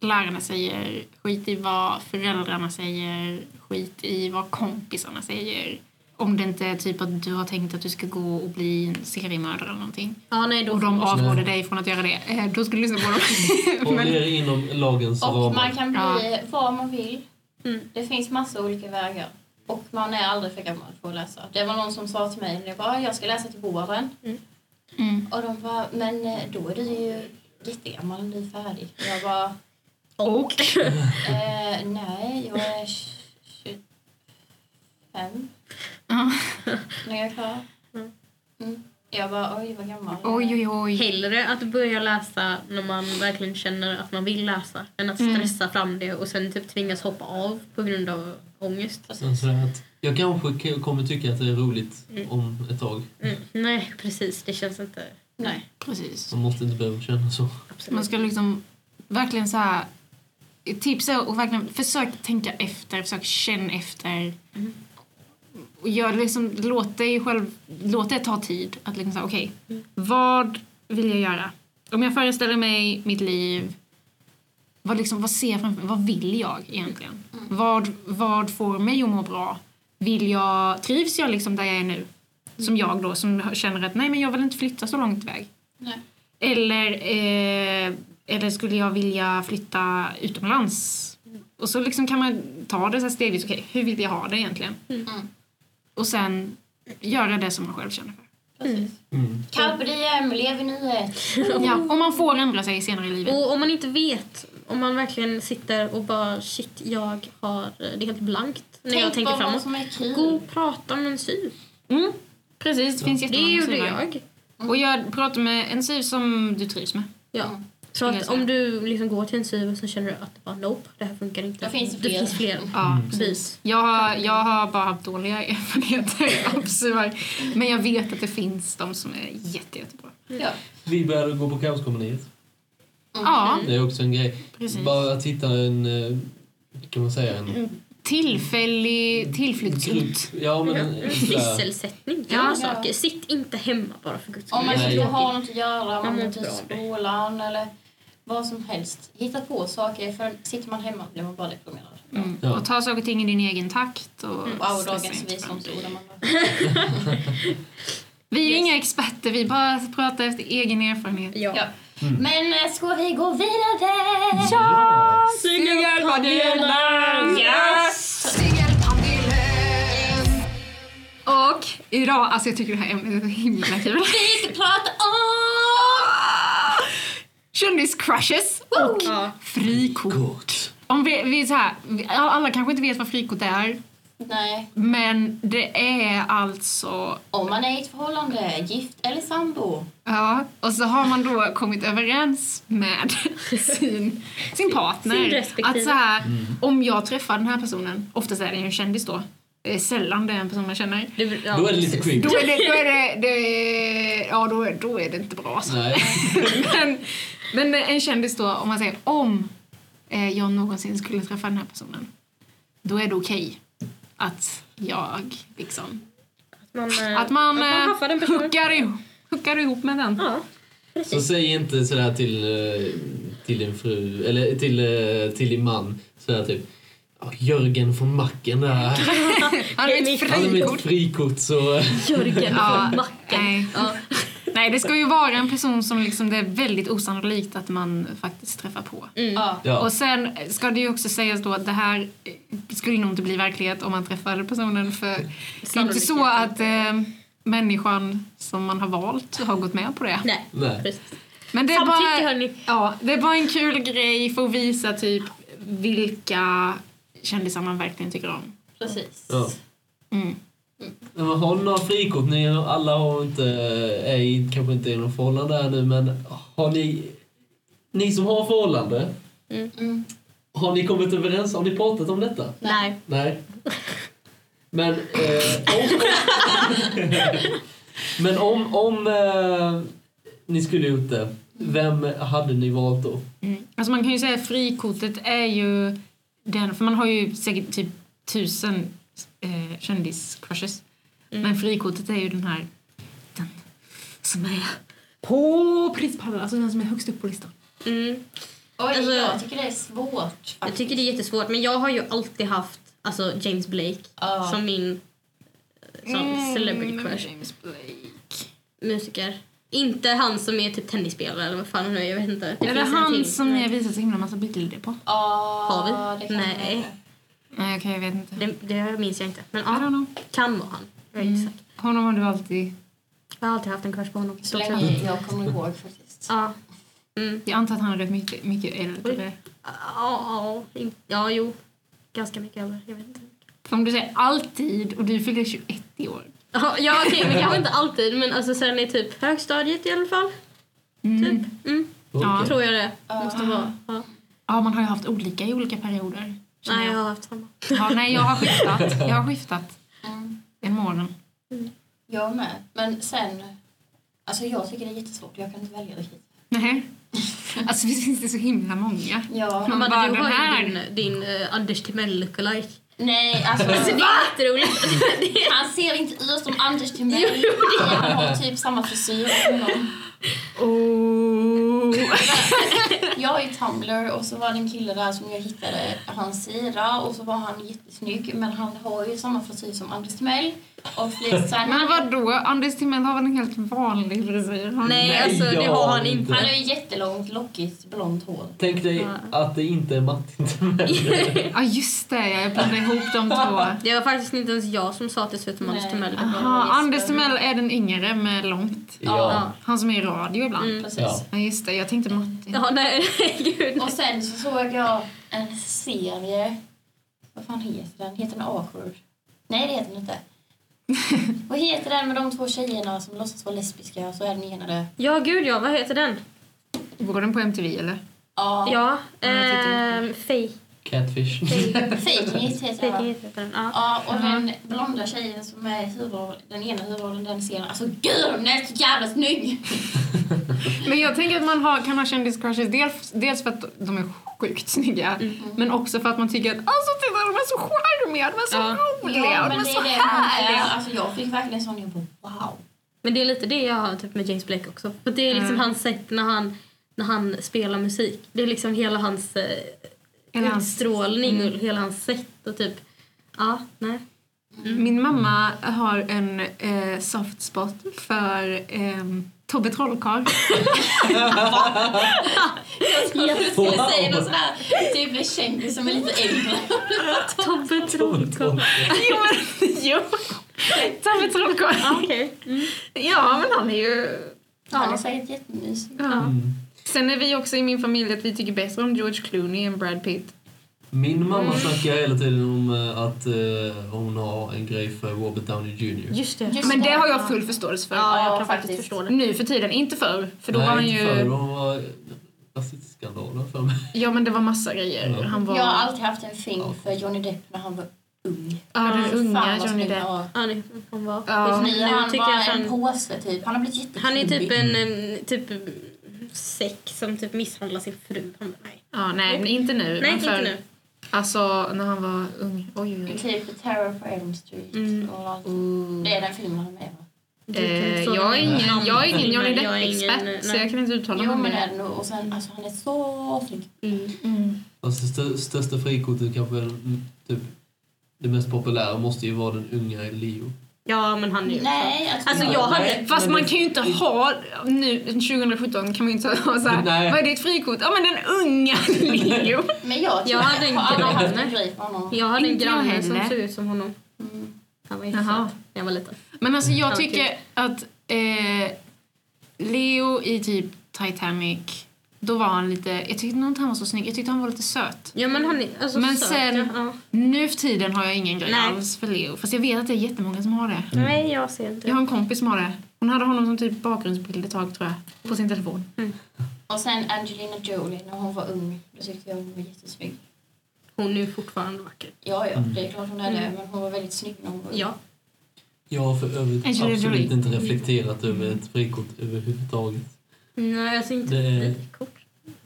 [SPEAKER 4] lärarna säger, skit i vad föräldrarna säger, skit i vad kompisarna säger. Om det inte är typ att du har tänkt att du ska gå och bli en seriemördare eller någonting.
[SPEAKER 5] Ja, nej, då
[SPEAKER 4] Och de avråder dig från att göra det. Eh, Då ska du lyssna på dem.
[SPEAKER 3] Håll
[SPEAKER 4] Men,
[SPEAKER 3] er inom lagens
[SPEAKER 2] Och man
[SPEAKER 3] ramar.
[SPEAKER 2] kan bli vad man vill.
[SPEAKER 5] Mm.
[SPEAKER 2] Det finns massa olika vägar. Och man är aldrig för gammal för att läsa. Det var någon som sa till mig när jag bara, jag ska läsa till våren.
[SPEAKER 4] mm.
[SPEAKER 2] Och de bara, men eh, då är du ju jättegammal när du är färdig. Och jag bara,
[SPEAKER 4] Och
[SPEAKER 2] eh, nej, jag är 25
[SPEAKER 4] Ja.
[SPEAKER 2] när jag är klar. Mm. Jag bara, oj vad gammal.
[SPEAKER 4] oj, oj, oj.
[SPEAKER 5] Hellre att börja läsa när man verkligen känner att man vill läsa än att stressa fram det och sen typ tvingas hoppa av på grund av ångest.
[SPEAKER 3] Sen så är det att Jag kanske k- kommer tycka att det är roligt om ett tag.
[SPEAKER 5] Mm. Nej, precis. Det känns inte... Nej,
[SPEAKER 4] Precis.
[SPEAKER 3] Man måste inte behöva känna så.
[SPEAKER 5] absolut.
[SPEAKER 4] Man ska liksom verkligen så här... ett Tips är att verkligen försök tänka efter, försök känna efter. Och gör liksom, låt, dig själv, låt det ta tid. Att liksom säga, okej, vad vill jag göra? Om jag föreställer mig mitt liv, vad, liksom, vad ser jag framför mig? Vad vill jag egentligen? Vad, vad får mig att må bra? Vill jag, trivs jag liksom där jag är nu? Som jag då, som känner att nej men jag vill inte flytta så långt iväg.
[SPEAKER 5] Mm.
[SPEAKER 2] Nej.
[SPEAKER 4] Eller, eh, eller skulle jag vilja flytta utomlands? Och så liksom kan man ta det så här stegvis. Okej, hur vill jag ha det egentligen?
[SPEAKER 2] Mm.
[SPEAKER 4] Och sen göra det som man själv känner för.
[SPEAKER 2] Precis.
[SPEAKER 3] Mm.
[SPEAKER 2] Carpe diem, lev i nuet.
[SPEAKER 4] Ja, och man får ändra sig senare i livet.
[SPEAKER 5] Och om man inte vet, om man verkligen sitter och bara shit, jag har... Det är helt blankt när jag tänker
[SPEAKER 2] på vad
[SPEAKER 5] framåt.
[SPEAKER 2] som är kul.
[SPEAKER 5] Gå och prata om en syv.
[SPEAKER 4] Mm, precis, det finns
[SPEAKER 5] Det
[SPEAKER 4] jättemånga
[SPEAKER 5] gjorde
[SPEAKER 4] syvar.
[SPEAKER 5] jag.
[SPEAKER 4] Och jag pratar med en syv som du trivs med.
[SPEAKER 5] Ja. Så
[SPEAKER 4] Skulle jag
[SPEAKER 5] att
[SPEAKER 4] säga.
[SPEAKER 5] om du liksom går till en syv och så känner du att det bara, nope, det här funkar inte.
[SPEAKER 2] Då finns det
[SPEAKER 5] det
[SPEAKER 2] fler.
[SPEAKER 5] finns fler.
[SPEAKER 4] Ja,
[SPEAKER 5] Precis.
[SPEAKER 4] Mm. Jag, har- jag har bara haft dåliga erfarenheter av syvar. Men jag vet att det finns de som är jätte, jättebra.
[SPEAKER 2] Ja. Mm.
[SPEAKER 3] Vi började gå på Kaoskommuniet.
[SPEAKER 4] Ja,
[SPEAKER 3] Det är också en grej.
[SPEAKER 4] precis.
[SPEAKER 3] Bara att hitta en, eh, kan man säga, en
[SPEAKER 4] Tillfällig
[SPEAKER 3] grupp.
[SPEAKER 4] tillflyktsort.
[SPEAKER 3] Ja, men en, en sådär.
[SPEAKER 5] Sysselsättning, gör
[SPEAKER 4] Ja.
[SPEAKER 5] saker. Sitt inte hemma bara för guds skull.
[SPEAKER 2] Om man
[SPEAKER 3] Nej.
[SPEAKER 2] inte har något att göra, om
[SPEAKER 5] Man
[SPEAKER 2] man
[SPEAKER 5] mår
[SPEAKER 2] går till
[SPEAKER 5] inte bra av det.
[SPEAKER 2] skolan eller vad som helst. Hitta på saker, för sitter man hemma blir man bara deprimerad.
[SPEAKER 3] Ja.
[SPEAKER 4] Och ta saker och ting i din egen takt. Och
[SPEAKER 5] Mm.
[SPEAKER 2] Wow,
[SPEAKER 4] stressa
[SPEAKER 2] dagens
[SPEAKER 4] inte fram
[SPEAKER 2] visdomsord.
[SPEAKER 4] dig.
[SPEAKER 2] om man bara-
[SPEAKER 4] Vi är inga experter, vi bara pratar efter egen erfarenhet.
[SPEAKER 5] Ja. Mm.
[SPEAKER 2] Ja. Men eh, ska vi gå vidare?
[SPEAKER 3] Ja!
[SPEAKER 4] Och idag, alltså jag tycker det här ämnet är så himla kul.
[SPEAKER 2] Vi ska prata om...
[SPEAKER 4] Kändiscrushes och
[SPEAKER 5] Ja.
[SPEAKER 4] frikort.
[SPEAKER 3] Gott.
[SPEAKER 4] Om vi, vi är så här, vi- alla kanske inte vet vad frikort är,
[SPEAKER 2] Nej,
[SPEAKER 4] men det är alltså
[SPEAKER 2] om man är i ett förhållande, gift eller sambo.
[SPEAKER 4] Ja, och så har man då kommit överens med sin, sin partner
[SPEAKER 5] Sin respektive.
[SPEAKER 3] Mm.
[SPEAKER 4] att så här, om jag träffar den här personen, oftast är det ju en kändis då, eh, Det är sällan det är en person man känner.
[SPEAKER 5] Du, ja,
[SPEAKER 3] Då är det lite
[SPEAKER 5] precis.
[SPEAKER 3] creepy.
[SPEAKER 4] Då är det, då är det, det ja då är, då är det inte bra alltså.
[SPEAKER 3] Nej.
[SPEAKER 4] men, men en kändis då, om man säger om eh, jag någonsin skulle träffa den här personen, då är det okej att jag liksom,
[SPEAKER 5] Man, eh,
[SPEAKER 4] att man,
[SPEAKER 5] att man haffar den
[SPEAKER 4] eh,
[SPEAKER 5] personen.
[SPEAKER 4] hookar, ihop, hookar ihop med den.
[SPEAKER 5] Ja,
[SPEAKER 3] Så säg inte sådär till, eh, till din fru, eller till, eh, till din man, sådär typ "Ja, Jörgen från macken där.
[SPEAKER 4] Han är mitt
[SPEAKER 3] Han är mitt
[SPEAKER 4] frikort.
[SPEAKER 3] frikort så...
[SPEAKER 5] Jörgen
[SPEAKER 4] Ja,
[SPEAKER 5] från macken.
[SPEAKER 4] nej.
[SPEAKER 5] Ja.
[SPEAKER 4] nej, det ska ju vara en person som liksom det är väldigt osannolikt att man faktiskt träffar på.
[SPEAKER 5] Mm.
[SPEAKER 2] Ja.
[SPEAKER 3] Ja.
[SPEAKER 4] Och sen ska det ju också sägas då att det här eh, skulle nog inte bli verklighet om man träffade personen för det är inte så att eh, människan som man har valt har gått med på det.
[SPEAKER 5] Nej,
[SPEAKER 3] Nej.
[SPEAKER 5] precis.
[SPEAKER 4] Men det är,
[SPEAKER 5] Samtycke
[SPEAKER 4] bara,
[SPEAKER 5] hörni.
[SPEAKER 4] ja, det är bara en kul grej för att visa typ vilka kändisar man verkligen tycker om.
[SPEAKER 2] Precis.
[SPEAKER 3] Ja.
[SPEAKER 4] Mm.
[SPEAKER 3] Men man har några frikort, ni är- alla har inte, är i- kanske inte i något förhållande här nu men har ni, ni som har förhållande,
[SPEAKER 4] Mm.
[SPEAKER 3] har ni kommit överens, har ni pratat om detta?
[SPEAKER 5] Nej.
[SPEAKER 3] Nej. Men eh, om... Men om, om eh, ni skulle gjort det, vem hade ni valt då?
[SPEAKER 4] Mm. Alltså man kan ju säga att frikortet är ju den, för man har ju säkert typ tusen eh, kändiscrushes. Men frikortet är ju den här, den som är på prispallen, alltså den som är högst upp på listan.
[SPEAKER 5] Mm.
[SPEAKER 2] Oj,
[SPEAKER 5] Alltså-
[SPEAKER 2] jag tycker det är svårt.
[SPEAKER 5] Jag tycker det är jättesvårt, men jag har ju alltid haft alltså, James Blake
[SPEAKER 2] Ja. Mm.
[SPEAKER 5] som min eh, som celebrity crush.
[SPEAKER 4] Mm. James Blake.
[SPEAKER 5] Musiker. Inte han som är typ tennisspelare eller vad fan han nu är, jag vet inte.
[SPEAKER 4] är det
[SPEAKER 5] finns en
[SPEAKER 4] han
[SPEAKER 5] till.
[SPEAKER 4] som ni har visat så himla massa bilder på?
[SPEAKER 2] Ja,
[SPEAKER 5] Har vi?
[SPEAKER 2] Ah, det kan man
[SPEAKER 5] Nej.
[SPEAKER 2] göra.
[SPEAKER 4] Nej, okej jag vet inte.
[SPEAKER 5] Det, det minns jag inte. Men
[SPEAKER 4] I don't
[SPEAKER 5] ja,
[SPEAKER 4] know. Mm.
[SPEAKER 5] kan vara han. Jag är inte säker.
[SPEAKER 4] Honom har du alltid...
[SPEAKER 5] Jag har alltid haft en crush på honom.
[SPEAKER 2] Så länge jag kommer ihåg faktiskt.
[SPEAKER 5] Ja. Mm.
[SPEAKER 4] Jag antar att han är rätt mycket, mycket äldre.
[SPEAKER 5] Ja, ja, in- ja, jo. Ganska mycket äldre. Jag vet inte.
[SPEAKER 4] För om du säger alltid och du fyller 21 i år.
[SPEAKER 5] Ja, ja okej, men kanske inte alltid. Men alltså sen i typ högstadiet i alla fall.
[SPEAKER 4] Mm.
[SPEAKER 5] Typ. Mm,
[SPEAKER 4] Ja.
[SPEAKER 5] tror jag det.
[SPEAKER 2] Ja.
[SPEAKER 5] Måste vara. Ja.
[SPEAKER 4] Ja, man har ju haft olika i olika perioder. känner
[SPEAKER 5] Nej, jag
[SPEAKER 4] jag.
[SPEAKER 5] har haft samma.
[SPEAKER 4] Ja, nej, jag har skiftat. Jag har skiftat
[SPEAKER 2] Mm.
[SPEAKER 4] en morgon.
[SPEAKER 2] Jag med. Men sen, alltså jag tycker det är jättesvårt. Jag kan inte välja riktigt.
[SPEAKER 4] Nej. Alltså visst finns det så himla många?
[SPEAKER 2] Ja.
[SPEAKER 4] Men
[SPEAKER 5] Amanda,
[SPEAKER 4] bara
[SPEAKER 5] du
[SPEAKER 4] den
[SPEAKER 5] har
[SPEAKER 4] här.
[SPEAKER 5] ju din, din eh, Anders Timell lookalike.
[SPEAKER 2] Nej, alltså.
[SPEAKER 5] Det är jätteroligt. Det är-
[SPEAKER 2] Han ser inte ut som Anders Timell. Han har typ samma frisyr som honom.
[SPEAKER 4] Oh.
[SPEAKER 2] Jag är ju Tumblr och så var det en kille där som jag hittade hans sida och så var han jättesnygg men han har ju samma frisyr som Anders Timell. Och flis, så han,
[SPEAKER 4] Men vadå? Anders Timell har väl en helt vanlig frisyr? Han-
[SPEAKER 5] Nej,
[SPEAKER 3] Nej,
[SPEAKER 5] alltså det
[SPEAKER 3] jag
[SPEAKER 5] har han
[SPEAKER 3] har
[SPEAKER 5] inte.
[SPEAKER 3] inte.
[SPEAKER 2] han har ju jättelångt lockigt blont hår.
[SPEAKER 3] Tänk dig att det inte är Martin Timell.
[SPEAKER 4] Ja, just det. Jag blandade ihop de två.
[SPEAKER 5] Det var faktiskt inte ens jag som sa att det såg ut som Anders
[SPEAKER 2] Nej.
[SPEAKER 5] Timell.
[SPEAKER 4] Aha, Anders Timell är den yngre med långt.
[SPEAKER 3] ja.
[SPEAKER 4] Han som är i radio ibland.
[SPEAKER 5] Mm.
[SPEAKER 2] Precis.
[SPEAKER 3] Ja.
[SPEAKER 4] Ja, just det. Jag tänkte Martin.
[SPEAKER 5] Ja, nej, gud.
[SPEAKER 2] Och sen så såg jag en serie. Vad fan heter den? Heter den Awkward? Nej, det heter den inte. Vad heter den med de två tjejerna som låtsas vara lesbiska och så är den ena det?
[SPEAKER 5] Ja, gud ja. Vad heter den?
[SPEAKER 4] Går den på MTV eller?
[SPEAKER 2] Ja.
[SPEAKER 5] Ja,
[SPEAKER 4] Ja, jag tittar
[SPEAKER 5] ehm, Fej.
[SPEAKER 3] Catfish.
[SPEAKER 2] Faking it heter
[SPEAKER 5] Fej
[SPEAKER 2] den. va?
[SPEAKER 5] heter den. Ja.
[SPEAKER 2] Ja, och den blonda tjejen som är i huvudrollen, den ena huvudrollen, den serien. Alltså gud, hon är så jävla snygg!
[SPEAKER 4] Men jag tänker att man har, kan ha kändiscrushes dels, dels för att de är sjukt snygga men också för att man tycker att alltså titta de är så charmiga, de är så
[SPEAKER 5] Ja.
[SPEAKER 4] roliga, de är så
[SPEAKER 2] man är.
[SPEAKER 4] härliga.
[SPEAKER 2] Alltså jag fick verkligen sån, jag bara wow.
[SPEAKER 5] Men det är lite det jag har typ med James Blake också. För det är liksom
[SPEAKER 4] Mm.
[SPEAKER 5] hans sätt när han, när han spelar musik. Det är liksom hela hans eh,
[SPEAKER 4] Hela hans-
[SPEAKER 5] utstrålning och hela hans sätt och typ... Ja, nej.
[SPEAKER 4] Min mamma har en eh, soft spot för ehm, Tobbe Trollkarl.
[SPEAKER 2] Jag skulle
[SPEAKER 3] Wow.
[SPEAKER 2] säga någon sån här typ en kändis som är lite äldre.
[SPEAKER 5] Tobbe
[SPEAKER 3] Mm.
[SPEAKER 5] Trollkarl.
[SPEAKER 4] jo, men, jo. Tobbe Trollkarl.
[SPEAKER 5] Ja, okej. Mm.
[SPEAKER 4] Ja, men han är ju...
[SPEAKER 2] Han är säkert jättemysig.
[SPEAKER 4] Ja.
[SPEAKER 3] Mm.
[SPEAKER 4] Sen är vi också i min familj att vi tycker bättre om George Clooney än Brad Pitt.
[SPEAKER 3] Min mamma
[SPEAKER 4] Mm.
[SPEAKER 3] snackar hela tiden om eh, att eh, hon har en grej för Robert Downey Jr.
[SPEAKER 5] Just det.
[SPEAKER 2] Just
[SPEAKER 4] Men det har jag full förståelse för.
[SPEAKER 5] Ja, jag
[SPEAKER 2] Ja,
[SPEAKER 5] kan faktiskt
[SPEAKER 2] faktiskt.
[SPEAKER 5] förstå det.
[SPEAKER 4] Nu för tiden, inte förr. För då var han
[SPEAKER 3] Nej, inte förr.
[SPEAKER 4] ju...
[SPEAKER 3] Hon var rasistskandaler för mig.
[SPEAKER 4] Ja men det var massa grejer.
[SPEAKER 3] Ja.
[SPEAKER 4] Han var... alltså,
[SPEAKER 2] Jag har alltid haft en film
[SPEAKER 3] Ja.
[SPEAKER 2] för Johnny Depp när han var ung.
[SPEAKER 4] Ja,
[SPEAKER 5] Ah,
[SPEAKER 4] den
[SPEAKER 2] Fan,
[SPEAKER 4] unga
[SPEAKER 2] vad
[SPEAKER 4] Johnny
[SPEAKER 2] snygg
[SPEAKER 4] Depp.
[SPEAKER 2] han var.
[SPEAKER 5] Ja, det han var.
[SPEAKER 4] Ja.
[SPEAKER 5] Nu
[SPEAKER 2] Nu han
[SPEAKER 5] tycker
[SPEAKER 2] var
[SPEAKER 5] jag att
[SPEAKER 2] en
[SPEAKER 5] han,
[SPEAKER 2] påse typ. Han har blivit jätteklubbig.
[SPEAKER 5] han är typ en em, typ säck som typ misshandlar sin fru. Han bara, nej,
[SPEAKER 4] Ja, nej, men inte nu.
[SPEAKER 5] nej
[SPEAKER 4] men
[SPEAKER 5] inte
[SPEAKER 4] Mm. för-
[SPEAKER 5] nu.
[SPEAKER 4] Alltså, när han var ung. Oj, oj, oj.
[SPEAKER 2] Typ Terror på Elm Street.
[SPEAKER 5] Mm.
[SPEAKER 2] Och allt.
[SPEAKER 4] Ooh.
[SPEAKER 2] Det är den filmen han är med va?
[SPEAKER 5] Du kan
[SPEAKER 4] Eh,
[SPEAKER 5] fråga
[SPEAKER 4] jag, är
[SPEAKER 5] mig.
[SPEAKER 4] ingen, jag är ingen Johnny
[SPEAKER 5] Jag är ingen-
[SPEAKER 4] Depp-expert, så
[SPEAKER 5] nej.
[SPEAKER 4] jag kan inte uttala mig
[SPEAKER 2] Jo
[SPEAKER 4] om
[SPEAKER 2] men det
[SPEAKER 4] det.
[SPEAKER 2] är det nog. Och sen alltså han är så snygg.
[SPEAKER 4] Mm.
[SPEAKER 3] Alltså stö- största frikortet kanske är mm, typ det mest populära måste ju vara den unga Leo.
[SPEAKER 5] Ja, men han är ju
[SPEAKER 2] Nej, alltså,
[SPEAKER 5] Alltså jag hade...
[SPEAKER 4] Fast
[SPEAKER 3] Men
[SPEAKER 4] man
[SPEAKER 3] det-
[SPEAKER 4] kan ju inte ha, nu 2017 kan man ju inte ha så här,
[SPEAKER 3] Nej.
[SPEAKER 4] vad är ditt frikort? Ja men den unga Leo.
[SPEAKER 2] Men jag
[SPEAKER 5] Jag hade en
[SPEAKER 2] har aldrig haft
[SPEAKER 5] granne.
[SPEAKER 2] en grej på honom.
[SPEAKER 5] Jag hade en
[SPEAKER 4] Inte jag
[SPEAKER 5] granne som
[SPEAKER 4] heller.
[SPEAKER 5] såg ut som honom.
[SPEAKER 2] Mm.
[SPEAKER 5] Han var
[SPEAKER 4] Jaha.
[SPEAKER 5] jättesöt när jag var liten.
[SPEAKER 4] Men alltså jag
[SPEAKER 5] Ja,
[SPEAKER 4] tycker att eh, Leo i typ Titanic, då var han lite, jag tyckte nog inte han var så snygg, jag tyckte han var lite söt.
[SPEAKER 5] Ja, men han är alltså
[SPEAKER 4] Men
[SPEAKER 5] söt,
[SPEAKER 4] sen-
[SPEAKER 5] ja.
[SPEAKER 4] Nu för tiden har jag ingen grej
[SPEAKER 5] Nej.
[SPEAKER 4] alls för Leo, fast jag vet att det är jättemånga som har det.
[SPEAKER 5] Ja. Nej, jag ser
[SPEAKER 2] Typ.
[SPEAKER 5] inte
[SPEAKER 4] Jag har en kompis som har det. Hon hade honom som typ bakgrundsbild ett tag tror jag, på sin telefon.
[SPEAKER 2] Och sen Angelina Jolie när hon var ung. Då tyckte jag hon var jättesnygg.
[SPEAKER 5] Hon är ju fortfarande vacker.
[SPEAKER 2] Ja ja, det är klart hon är det.
[SPEAKER 5] Mm.
[SPEAKER 2] Men hon var väldigt snygg när hon var ung.
[SPEAKER 5] Ja.
[SPEAKER 3] Jag har för övrigt
[SPEAKER 4] Angelina
[SPEAKER 3] absolut
[SPEAKER 4] Jolie.
[SPEAKER 3] inte reflekterat över ett frikort överhuvudtaget.
[SPEAKER 4] Mm.
[SPEAKER 5] Nej, jag ser inte
[SPEAKER 3] Det är-
[SPEAKER 5] frikort.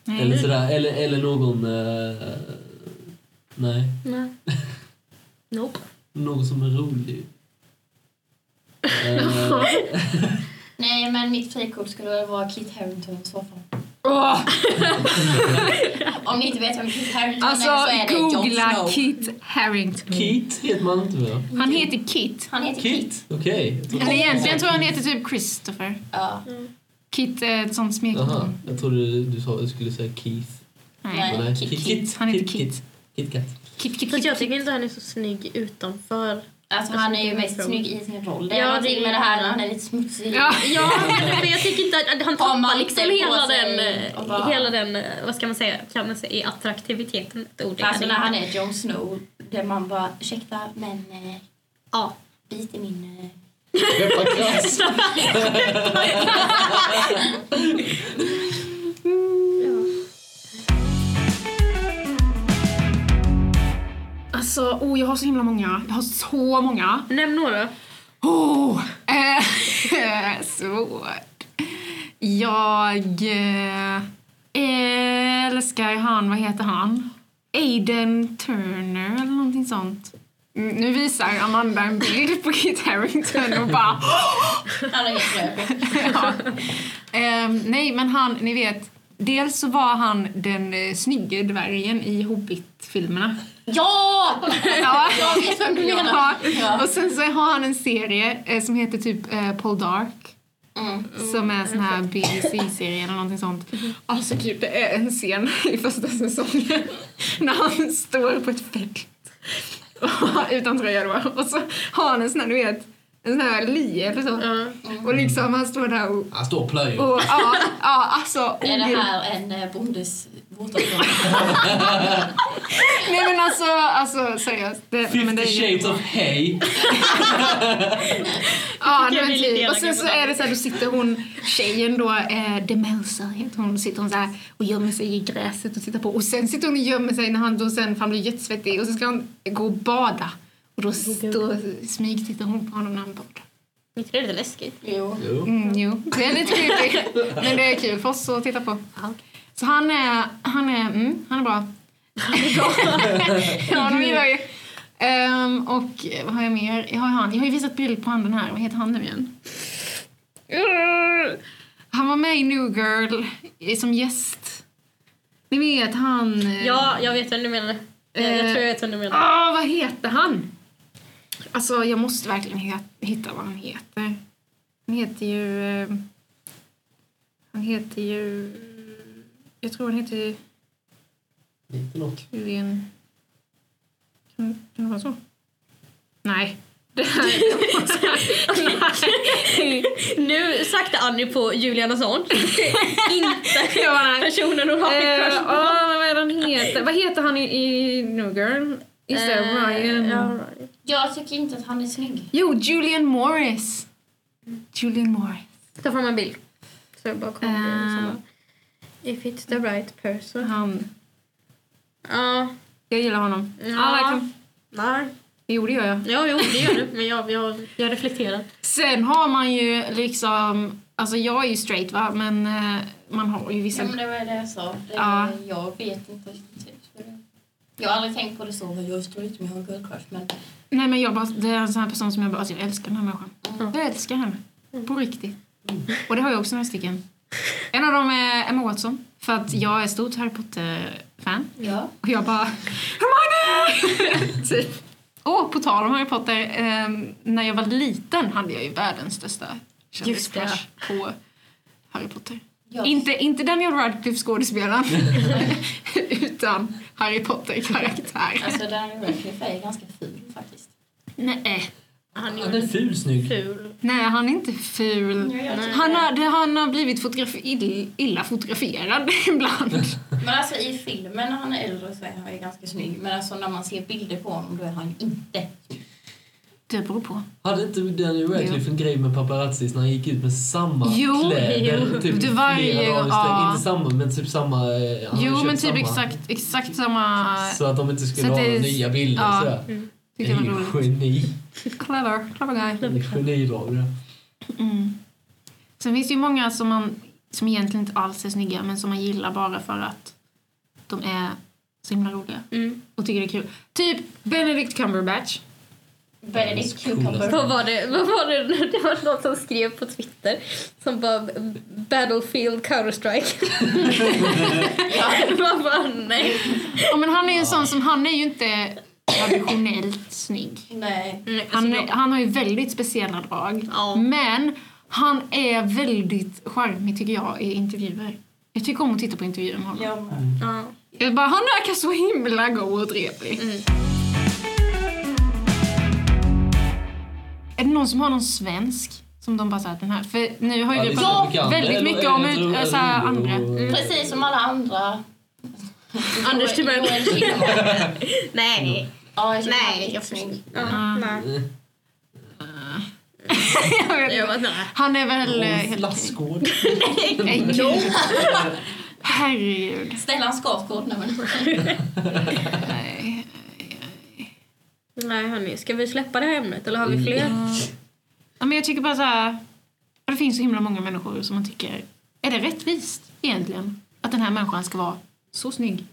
[SPEAKER 4] Nej.
[SPEAKER 3] Eller sådär, eller, eller någon... eh, nej,
[SPEAKER 5] Nej. Nope.
[SPEAKER 3] någon som är rolig. Eh,
[SPEAKER 2] Nej men mitt frikort skulle vara Kit Harington i så fall.
[SPEAKER 4] Åh!
[SPEAKER 2] Om ni inte vet vem Kit Harington
[SPEAKER 4] Alltså,
[SPEAKER 2] är så är det Jon
[SPEAKER 4] googla
[SPEAKER 2] Snow.
[SPEAKER 4] Kit Harrington.
[SPEAKER 3] Kit heter man inte va?
[SPEAKER 4] Han heter Kit.
[SPEAKER 2] Han heter Kit.
[SPEAKER 3] Kit? Okej. jag trodde-
[SPEAKER 4] Eller egentligen tror jag han heter typ Christopher.
[SPEAKER 2] Ja.
[SPEAKER 4] Kit är ett sånt
[SPEAKER 3] Aha,
[SPEAKER 4] smeknamn.
[SPEAKER 3] jag trodde du, du sa, jag skulle säga Keith.
[SPEAKER 4] Nej.
[SPEAKER 2] Nej.
[SPEAKER 3] Men
[SPEAKER 2] Kit-
[SPEAKER 4] Kit. Han heter Kit.
[SPEAKER 3] Kit Kat.
[SPEAKER 4] Kit, Kit,
[SPEAKER 5] Fast
[SPEAKER 4] Kit.
[SPEAKER 5] jag tycker inte han är så snygg utanför.
[SPEAKER 2] Alltså han är ju mest snygg i sin roll. Det är
[SPEAKER 5] Ja,
[SPEAKER 2] ja,
[SPEAKER 5] det är-
[SPEAKER 2] någonting med det här när han är lite smutsig.
[SPEAKER 4] Ja.
[SPEAKER 5] Ja, men jag tycker inte att han
[SPEAKER 2] Har man
[SPEAKER 5] tappar liksom
[SPEAKER 2] lite på
[SPEAKER 5] hela
[SPEAKER 2] sig
[SPEAKER 5] den, eh,
[SPEAKER 2] och bara-
[SPEAKER 5] hela den, eh, vad ska man säga, kan man säga, attraktiviteten? Ett ord jag
[SPEAKER 2] Alltså
[SPEAKER 5] hade
[SPEAKER 2] när han
[SPEAKER 5] inte.
[SPEAKER 2] är Jon Snow, där man bara ursäkta men eh,
[SPEAKER 5] Ja.
[SPEAKER 2] bit i min... Eh.
[SPEAKER 3] Peppa Krass.
[SPEAKER 4] Alltså, oh, jag har så himla många. Jag har så många.
[SPEAKER 5] Nämn några.
[SPEAKER 4] Oh, eh, svårt. Jag eh, älskar ju han, vad heter han? Aiden Turner eller någonting sånt. Mm, Nu visar Amanda en bild på Kit Harington och bara... "Oh!"
[SPEAKER 2] Han är jätteröd.
[SPEAKER 4] ja. Ehm, nej, men han, ni vet. Dels så var han den eh, snygge dvärgen i Hobbit-filmerna.
[SPEAKER 2] Ja!
[SPEAKER 4] Ja.
[SPEAKER 2] Jag vet vem du menar.
[SPEAKER 4] Ja. Och sen så har han en serie eh, som heter typ eh, Paul Dark.
[SPEAKER 2] Mm.
[SPEAKER 4] Som är en sån här BBC-serie eller någonting sånt. Alltså typ det är en scen i första säsongen när han står på ett fält. Utan tröja då. Och så har han en sån här, du vet, en sån här lie eller så. Och liksom han står där och
[SPEAKER 3] Han står och plöjer.
[SPEAKER 4] och, ja, ja, alltså...
[SPEAKER 2] Är det
[SPEAKER 4] gud.
[SPEAKER 2] här en eh, bondes vårtavla?
[SPEAKER 4] Nej men alltså, alltså seriöst. Det, men det
[SPEAKER 3] Fifty
[SPEAKER 4] är ju-
[SPEAKER 3] shades of Hey.
[SPEAKER 4] Ja,
[SPEAKER 5] tycker
[SPEAKER 4] men
[SPEAKER 5] jag vi är lite
[SPEAKER 4] typ. Och sen så
[SPEAKER 5] elaka på
[SPEAKER 4] är det så här, då sitter hon, tjejen då, eh, Demelsa heter hon, sitter hon så här och gömmer sig i gräset och tittar på. Och sen sitter hon och gömmer sig när han då sen, för han blir jättesvettig och så ska han gå och bada. Och då, då smygtittar hon på honom när han badar.
[SPEAKER 5] Inte det är lite läskigt?
[SPEAKER 2] Jo.
[SPEAKER 3] Jo.
[SPEAKER 4] Mm, jo, det är lite creepy. Men det är kul för oss att titta på. Så han är, han är, mm, han är bra. ja, de gillar ju. Ehm, och eh, vad har jag mer? Jag har, ju han, jag har ju visat bild på han den här. Vad heter han nu igen? Urr. Han var med i New Girl eh, som gäst. Ni vet han... eh,
[SPEAKER 5] Ja, jag vet vem du menar. Jag, jag
[SPEAKER 4] Eh,
[SPEAKER 5] tror jag vet vem du menar.
[SPEAKER 4] Ah, vad heter han? Alltså, jag måste verkligen he- hitta vad han heter. Han heter ju... Eh, han heter ju... Jag tror han heter
[SPEAKER 3] Inte något.
[SPEAKER 4] Julian... Kan, kan det vara så? Nej. Det här Nej.
[SPEAKER 5] Nu sakta Annie på Julian Assange. inte
[SPEAKER 4] Jag bara, nej.
[SPEAKER 5] personen hon har en
[SPEAKER 4] Eh,
[SPEAKER 5] crush på.
[SPEAKER 4] åh, vad är det han heter? Vad heter han i, i New Girl? Is that
[SPEAKER 5] Eh,
[SPEAKER 4] Ryan?
[SPEAKER 5] ja, Ryan.
[SPEAKER 2] Jag tycker inte att han är snygg.
[SPEAKER 4] Jo, Julian Morris. Julian Morris.
[SPEAKER 5] Ta fram en bild. Så jag bara kommer till det och så bara, Eh, If it's the right person.
[SPEAKER 4] Han,
[SPEAKER 5] Ja.
[SPEAKER 4] jag gillar honom.
[SPEAKER 5] Ja.
[SPEAKER 4] verkligen.
[SPEAKER 5] Nej.
[SPEAKER 4] Jo, det gör jag.
[SPEAKER 5] Ja, jo, det gör du. Men jag, jag, jag reflekterar.
[SPEAKER 4] Sen har man ju liksom... Alltså jag är ju straight va, men eh, man har ju vissa...
[SPEAKER 2] Ja, men det var det jag sa. Det,
[SPEAKER 4] Ja.
[SPEAKER 2] Jag vet inte riktigt. hur det- Jag har aldrig tänkt på det så, men jag står inte med en girl crush. Men
[SPEAKER 4] Nej men jag bara, det är en sån här person som jag bara, alltså jag älskar den här människan.
[SPEAKER 5] Mm.
[SPEAKER 4] Jag älskar henne. På riktigt. Och det har jag också några stycken. En av dem är Emma Watson. För att jag är stort Harry Potter-fan.
[SPEAKER 2] ja.
[SPEAKER 4] Och jag bara Hermione! typ. Och på tal om Harry Potter, ehm, när jag var liten hade jag ju världens största
[SPEAKER 5] Just det.
[SPEAKER 4] kändiscrush på Harry Potter.
[SPEAKER 2] Jag,
[SPEAKER 4] Inte, inte Daniel Radcliffe skådespelaren, utan Harry Potter-karaktär.
[SPEAKER 2] Alltså, Daniel Radcliffe är ganska ful faktiskt.
[SPEAKER 4] Nej.
[SPEAKER 5] Han
[SPEAKER 3] Han är ful snygg.
[SPEAKER 5] ful.
[SPEAKER 4] Eh, Nej, han är inte ful. Han har, det, han har blivit fotografi, ill, illa fotograferad ibland.
[SPEAKER 2] Men alltså i filmen när han är äldre så är han ju ganska snygg. Men alltså när man ser bilder på honom då är han inte.
[SPEAKER 4] Det beror på.
[SPEAKER 3] Hade inte Daniel Radcliffe en grej med paparazzis när han gick ut med samma
[SPEAKER 4] Jo,
[SPEAKER 3] kläder? Typ
[SPEAKER 5] jo.
[SPEAKER 4] Det
[SPEAKER 3] flera
[SPEAKER 4] var ju-
[SPEAKER 3] dagar i sträck?
[SPEAKER 4] ja.
[SPEAKER 3] Inte samma, men typ samma. eh, han
[SPEAKER 4] Jo,
[SPEAKER 3] hade
[SPEAKER 4] men
[SPEAKER 3] köpt
[SPEAKER 4] typ
[SPEAKER 3] samma.
[SPEAKER 4] exakt, exakt samma...
[SPEAKER 3] Så att de inte skulle
[SPEAKER 4] Så att
[SPEAKER 3] ha
[SPEAKER 4] det-
[SPEAKER 3] några nya bilder.
[SPEAKER 4] ja.
[SPEAKER 3] Sådär. Det är
[SPEAKER 4] Tyckte jag var
[SPEAKER 3] ju
[SPEAKER 4] roligt.
[SPEAKER 3] geni.
[SPEAKER 4] Clever, clever guy.
[SPEAKER 3] Det är Genidrag det.
[SPEAKER 4] Mm. Sen finns det ju många som man som egentligen inte alls är snygga men som man gillar bara för att de är så himla roliga
[SPEAKER 5] Mm.
[SPEAKER 4] och tycker det är kul. Typ Benedict Cumberbatch.
[SPEAKER 2] Benedict Cucumber.
[SPEAKER 5] Vad var det? Vad var det? Det var någon som skrev på Twitter som bara Battlefield Counter-Strike. Man bara nej.
[SPEAKER 4] Ja, men han är ju en sån som, han är ju inte traditionellt snygg.
[SPEAKER 2] Nej.
[SPEAKER 5] nej
[SPEAKER 4] Han, är, han har ju väldigt speciella drag.
[SPEAKER 5] Alltså, Ja.
[SPEAKER 4] Men han är väldigt charmig tycker jag i intervjuer. Jag tycker om att titta på intervjuer med honom.
[SPEAKER 2] Jag med.
[SPEAKER 5] ja.
[SPEAKER 4] Jag bara, han verkar så himla god och trevlig.
[SPEAKER 5] Mm.
[SPEAKER 4] Är det någon som har någon svensk som de bara såhär, den här? För nu har ju vi
[SPEAKER 3] Ja, det är
[SPEAKER 4] pratat
[SPEAKER 3] mycket andra.
[SPEAKER 4] väldigt
[SPEAKER 3] Eller-
[SPEAKER 4] mycket om
[SPEAKER 3] eller-
[SPEAKER 4] ut,
[SPEAKER 3] eller-
[SPEAKER 4] så här,
[SPEAKER 3] eller-
[SPEAKER 4] andra.
[SPEAKER 2] Precis som alla andra.
[SPEAKER 5] Anders Timell.
[SPEAKER 2] Joel Kinnaman.
[SPEAKER 5] Nej.
[SPEAKER 2] Ja, jag tycker
[SPEAKER 5] Nej,
[SPEAKER 2] han är
[SPEAKER 5] jag
[SPEAKER 2] jättesnygg.
[SPEAKER 5] Ja, nej.
[SPEAKER 4] Jag vet
[SPEAKER 5] Jag
[SPEAKER 4] inte.
[SPEAKER 5] bara, nej.
[SPEAKER 4] Han är väl... eh,
[SPEAKER 3] Och
[SPEAKER 4] helt
[SPEAKER 3] Flaskgård.
[SPEAKER 4] Nej, gud. Herregud.
[SPEAKER 2] Stellan Skarsgård. Nej, men.
[SPEAKER 4] Nej.
[SPEAKER 5] Nej hörni, ska vi släppa det här ämnet eller har
[SPEAKER 4] Mm.
[SPEAKER 5] vi fler?
[SPEAKER 4] Ja, men jag tycker bara så här. Det finns så himla många människor som man tycker... Är det rättvist egentligen? Att den här människan ska vara så snygg,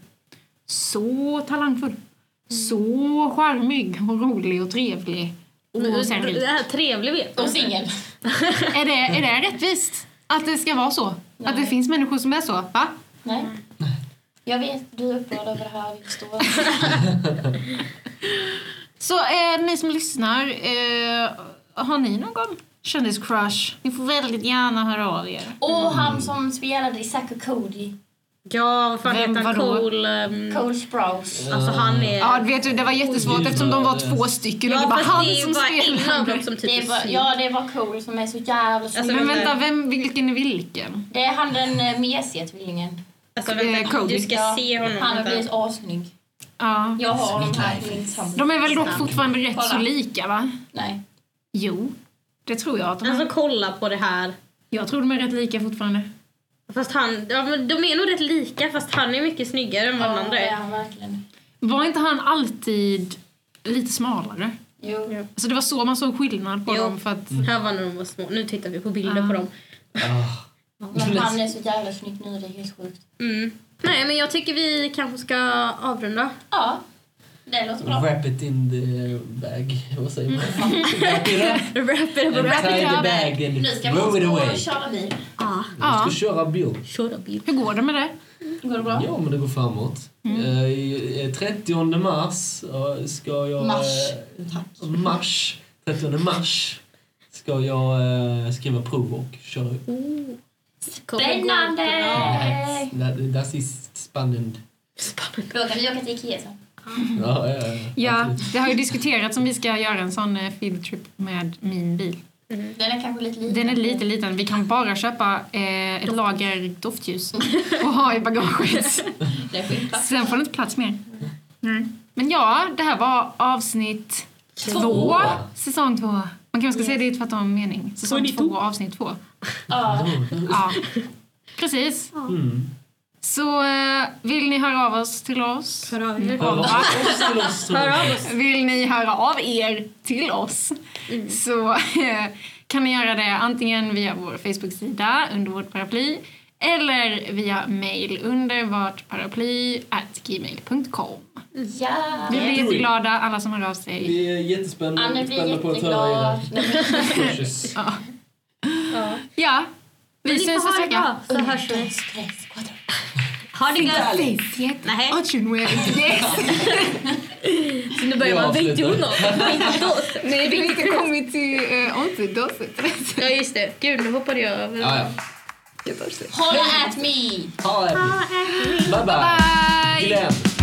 [SPEAKER 4] så talangfull,
[SPEAKER 5] Mm.
[SPEAKER 4] så charmig och rolig och trevlig och sen rik.
[SPEAKER 5] Mm. det här trevlig vet jag
[SPEAKER 2] Och
[SPEAKER 5] inte.
[SPEAKER 2] singel.
[SPEAKER 4] Är det, är det rättvist att det ska vara så? Att det finns människor som är så? Va?
[SPEAKER 2] Nej. Jag vet, du är upprörd över det här. Vi förstår.
[SPEAKER 4] Så eh, ni som lyssnar, eh, har ni någon kändiscrush? Ni får väldigt gärna höra av er.
[SPEAKER 2] Och han som spelade i Zack och Cody.
[SPEAKER 5] Ja, vad fan
[SPEAKER 4] Vem,
[SPEAKER 5] heter han?
[SPEAKER 4] vadå?
[SPEAKER 5] Cool... ehm,
[SPEAKER 2] Cole Sprouse.
[SPEAKER 5] Alltså han är...
[SPEAKER 4] Ja, vet du, det var jättesvårt
[SPEAKER 3] Gud,
[SPEAKER 4] eftersom de var
[SPEAKER 3] vad-
[SPEAKER 4] två stycken och
[SPEAKER 5] Ja,
[SPEAKER 4] det var
[SPEAKER 5] fast
[SPEAKER 4] han
[SPEAKER 5] det är
[SPEAKER 4] som
[SPEAKER 5] bara en av dem
[SPEAKER 4] spelade.
[SPEAKER 5] som typ
[SPEAKER 2] Det
[SPEAKER 5] är
[SPEAKER 2] var,
[SPEAKER 5] snygg.
[SPEAKER 2] ja, det var Cole som är så jävla
[SPEAKER 5] Alltså,
[SPEAKER 2] snygg.
[SPEAKER 4] Men vänta, vem, vilken är vilken?
[SPEAKER 2] Det är han den eh, mesiga tvillingen.
[SPEAKER 5] Alltså,
[SPEAKER 4] eh,
[SPEAKER 5] vänta,
[SPEAKER 4] Cody.
[SPEAKER 5] du ska
[SPEAKER 2] Ja,
[SPEAKER 5] se honom.
[SPEAKER 2] Han har
[SPEAKER 5] vänta.
[SPEAKER 2] blivit assnygg.
[SPEAKER 4] Ja.
[SPEAKER 2] Jag har honom här i min sambo.
[SPEAKER 4] De är väl dock fortfarande rätt så
[SPEAKER 2] Kolla.
[SPEAKER 4] lika, va?
[SPEAKER 2] Nej.
[SPEAKER 4] Jo, det tror jag att de är.
[SPEAKER 5] Alltså kolla på det här.
[SPEAKER 4] Jag tror de är rätt lika fortfarande.
[SPEAKER 5] Fast han, ja, men de är nog rätt lika fast han är mycket snyggare än vad den andra
[SPEAKER 2] det är
[SPEAKER 5] är.
[SPEAKER 2] han verkligen.
[SPEAKER 4] Var inte han alltid lite smalare?
[SPEAKER 2] Jo.
[SPEAKER 5] Ja.
[SPEAKER 4] Alltså det var så man såg skillnad på
[SPEAKER 5] Jo.
[SPEAKER 4] dem för att...
[SPEAKER 5] Här var när de var små. Nu tittar vi på bilder
[SPEAKER 4] Ah.
[SPEAKER 5] på dem.
[SPEAKER 3] Ah.
[SPEAKER 2] Men han är så jävla snygg nu, det är helt sjukt.
[SPEAKER 5] Mm. Nej men jag tycker vi kanske ska avrunda.
[SPEAKER 2] Ja, det låter bra.
[SPEAKER 3] Wrap it in the bag. Vad säger man? Wrap it up.
[SPEAKER 5] Wrap it up.
[SPEAKER 4] Wrap it
[SPEAKER 3] Tie
[SPEAKER 4] up.
[SPEAKER 3] the bag and
[SPEAKER 2] Nu ska
[SPEAKER 3] throw
[SPEAKER 2] vi
[SPEAKER 3] it
[SPEAKER 2] gå och
[SPEAKER 3] away.
[SPEAKER 2] köra bil.
[SPEAKER 5] Ah,
[SPEAKER 4] Ja.
[SPEAKER 3] Vi ska köra bil.
[SPEAKER 5] shut up you.
[SPEAKER 4] Hur går det med det?
[SPEAKER 2] Går det bra?
[SPEAKER 3] Ja, men det går framåt. Eh, eh, 30 mars eh, ska jag...
[SPEAKER 2] Mars.
[SPEAKER 3] eh, Mars. 30 mars ska jag eh, skriva prov och köra upp.
[SPEAKER 2] Spännande!
[SPEAKER 3] Det det är spännande.
[SPEAKER 2] Då kan vi åka till Ikea sen.
[SPEAKER 3] Ja, ja, ja.
[SPEAKER 4] Ja,
[SPEAKER 3] Absolut.
[SPEAKER 4] det har ju diskuterats om vi ska göra en sån eh, fieldtrip med min bil.
[SPEAKER 2] Den är kanske lite liten.
[SPEAKER 4] Den är lite liten. Vi kan bara köpa eh, ett lager doftljus och ha i bagaget.
[SPEAKER 2] Det är skitplats.
[SPEAKER 4] Sen får det inte plats mer. Nej. Men ja, det här var avsnitt två. Säsong två. Man kanske ska säga det i tvärtom mening. Säsong två, avsnitt två.
[SPEAKER 2] Ja.
[SPEAKER 4] Ja. Precis.
[SPEAKER 3] Mm.
[SPEAKER 4] Så eh, vill ni höra av oss till oss?
[SPEAKER 5] Hör av er.
[SPEAKER 3] Hör av oss till oss.
[SPEAKER 5] Hör av oss.
[SPEAKER 4] Vill ni höra av er till oss så eh, kan ni göra det antingen via vår Facebook-sida under vårt paraply eller via mail under vartparaply at gmail.com.
[SPEAKER 2] Ja!
[SPEAKER 4] Vi blir
[SPEAKER 3] Yeah.
[SPEAKER 4] jätteglada, alla som hör av sig.
[SPEAKER 3] Vi är jättespända,
[SPEAKER 2] Anne blir
[SPEAKER 3] spända på att höra
[SPEAKER 2] jätteglad.
[SPEAKER 3] era
[SPEAKER 2] Nej, men-
[SPEAKER 3] crushes.
[SPEAKER 5] Ja.
[SPEAKER 4] Ja, vi
[SPEAKER 5] Ni
[SPEAKER 4] syns
[SPEAKER 5] får ha
[SPEAKER 4] nästa
[SPEAKER 5] det
[SPEAKER 4] vecka.
[SPEAKER 5] bra, så hörs vi.
[SPEAKER 2] Stress, quattro.
[SPEAKER 5] Ha det gött! Nej, nu börjar
[SPEAKER 3] Jag
[SPEAKER 5] man
[SPEAKER 3] avslutar.
[SPEAKER 5] veta honom.
[SPEAKER 4] Nej, vi har inte kommit till äh, återdoset.
[SPEAKER 5] Ja, just det. Gud, nu hoppade jag över.
[SPEAKER 3] Ja, ja.
[SPEAKER 2] Holla at me!
[SPEAKER 3] Ha det. Bye, bye.
[SPEAKER 4] Bye!
[SPEAKER 3] Glenn.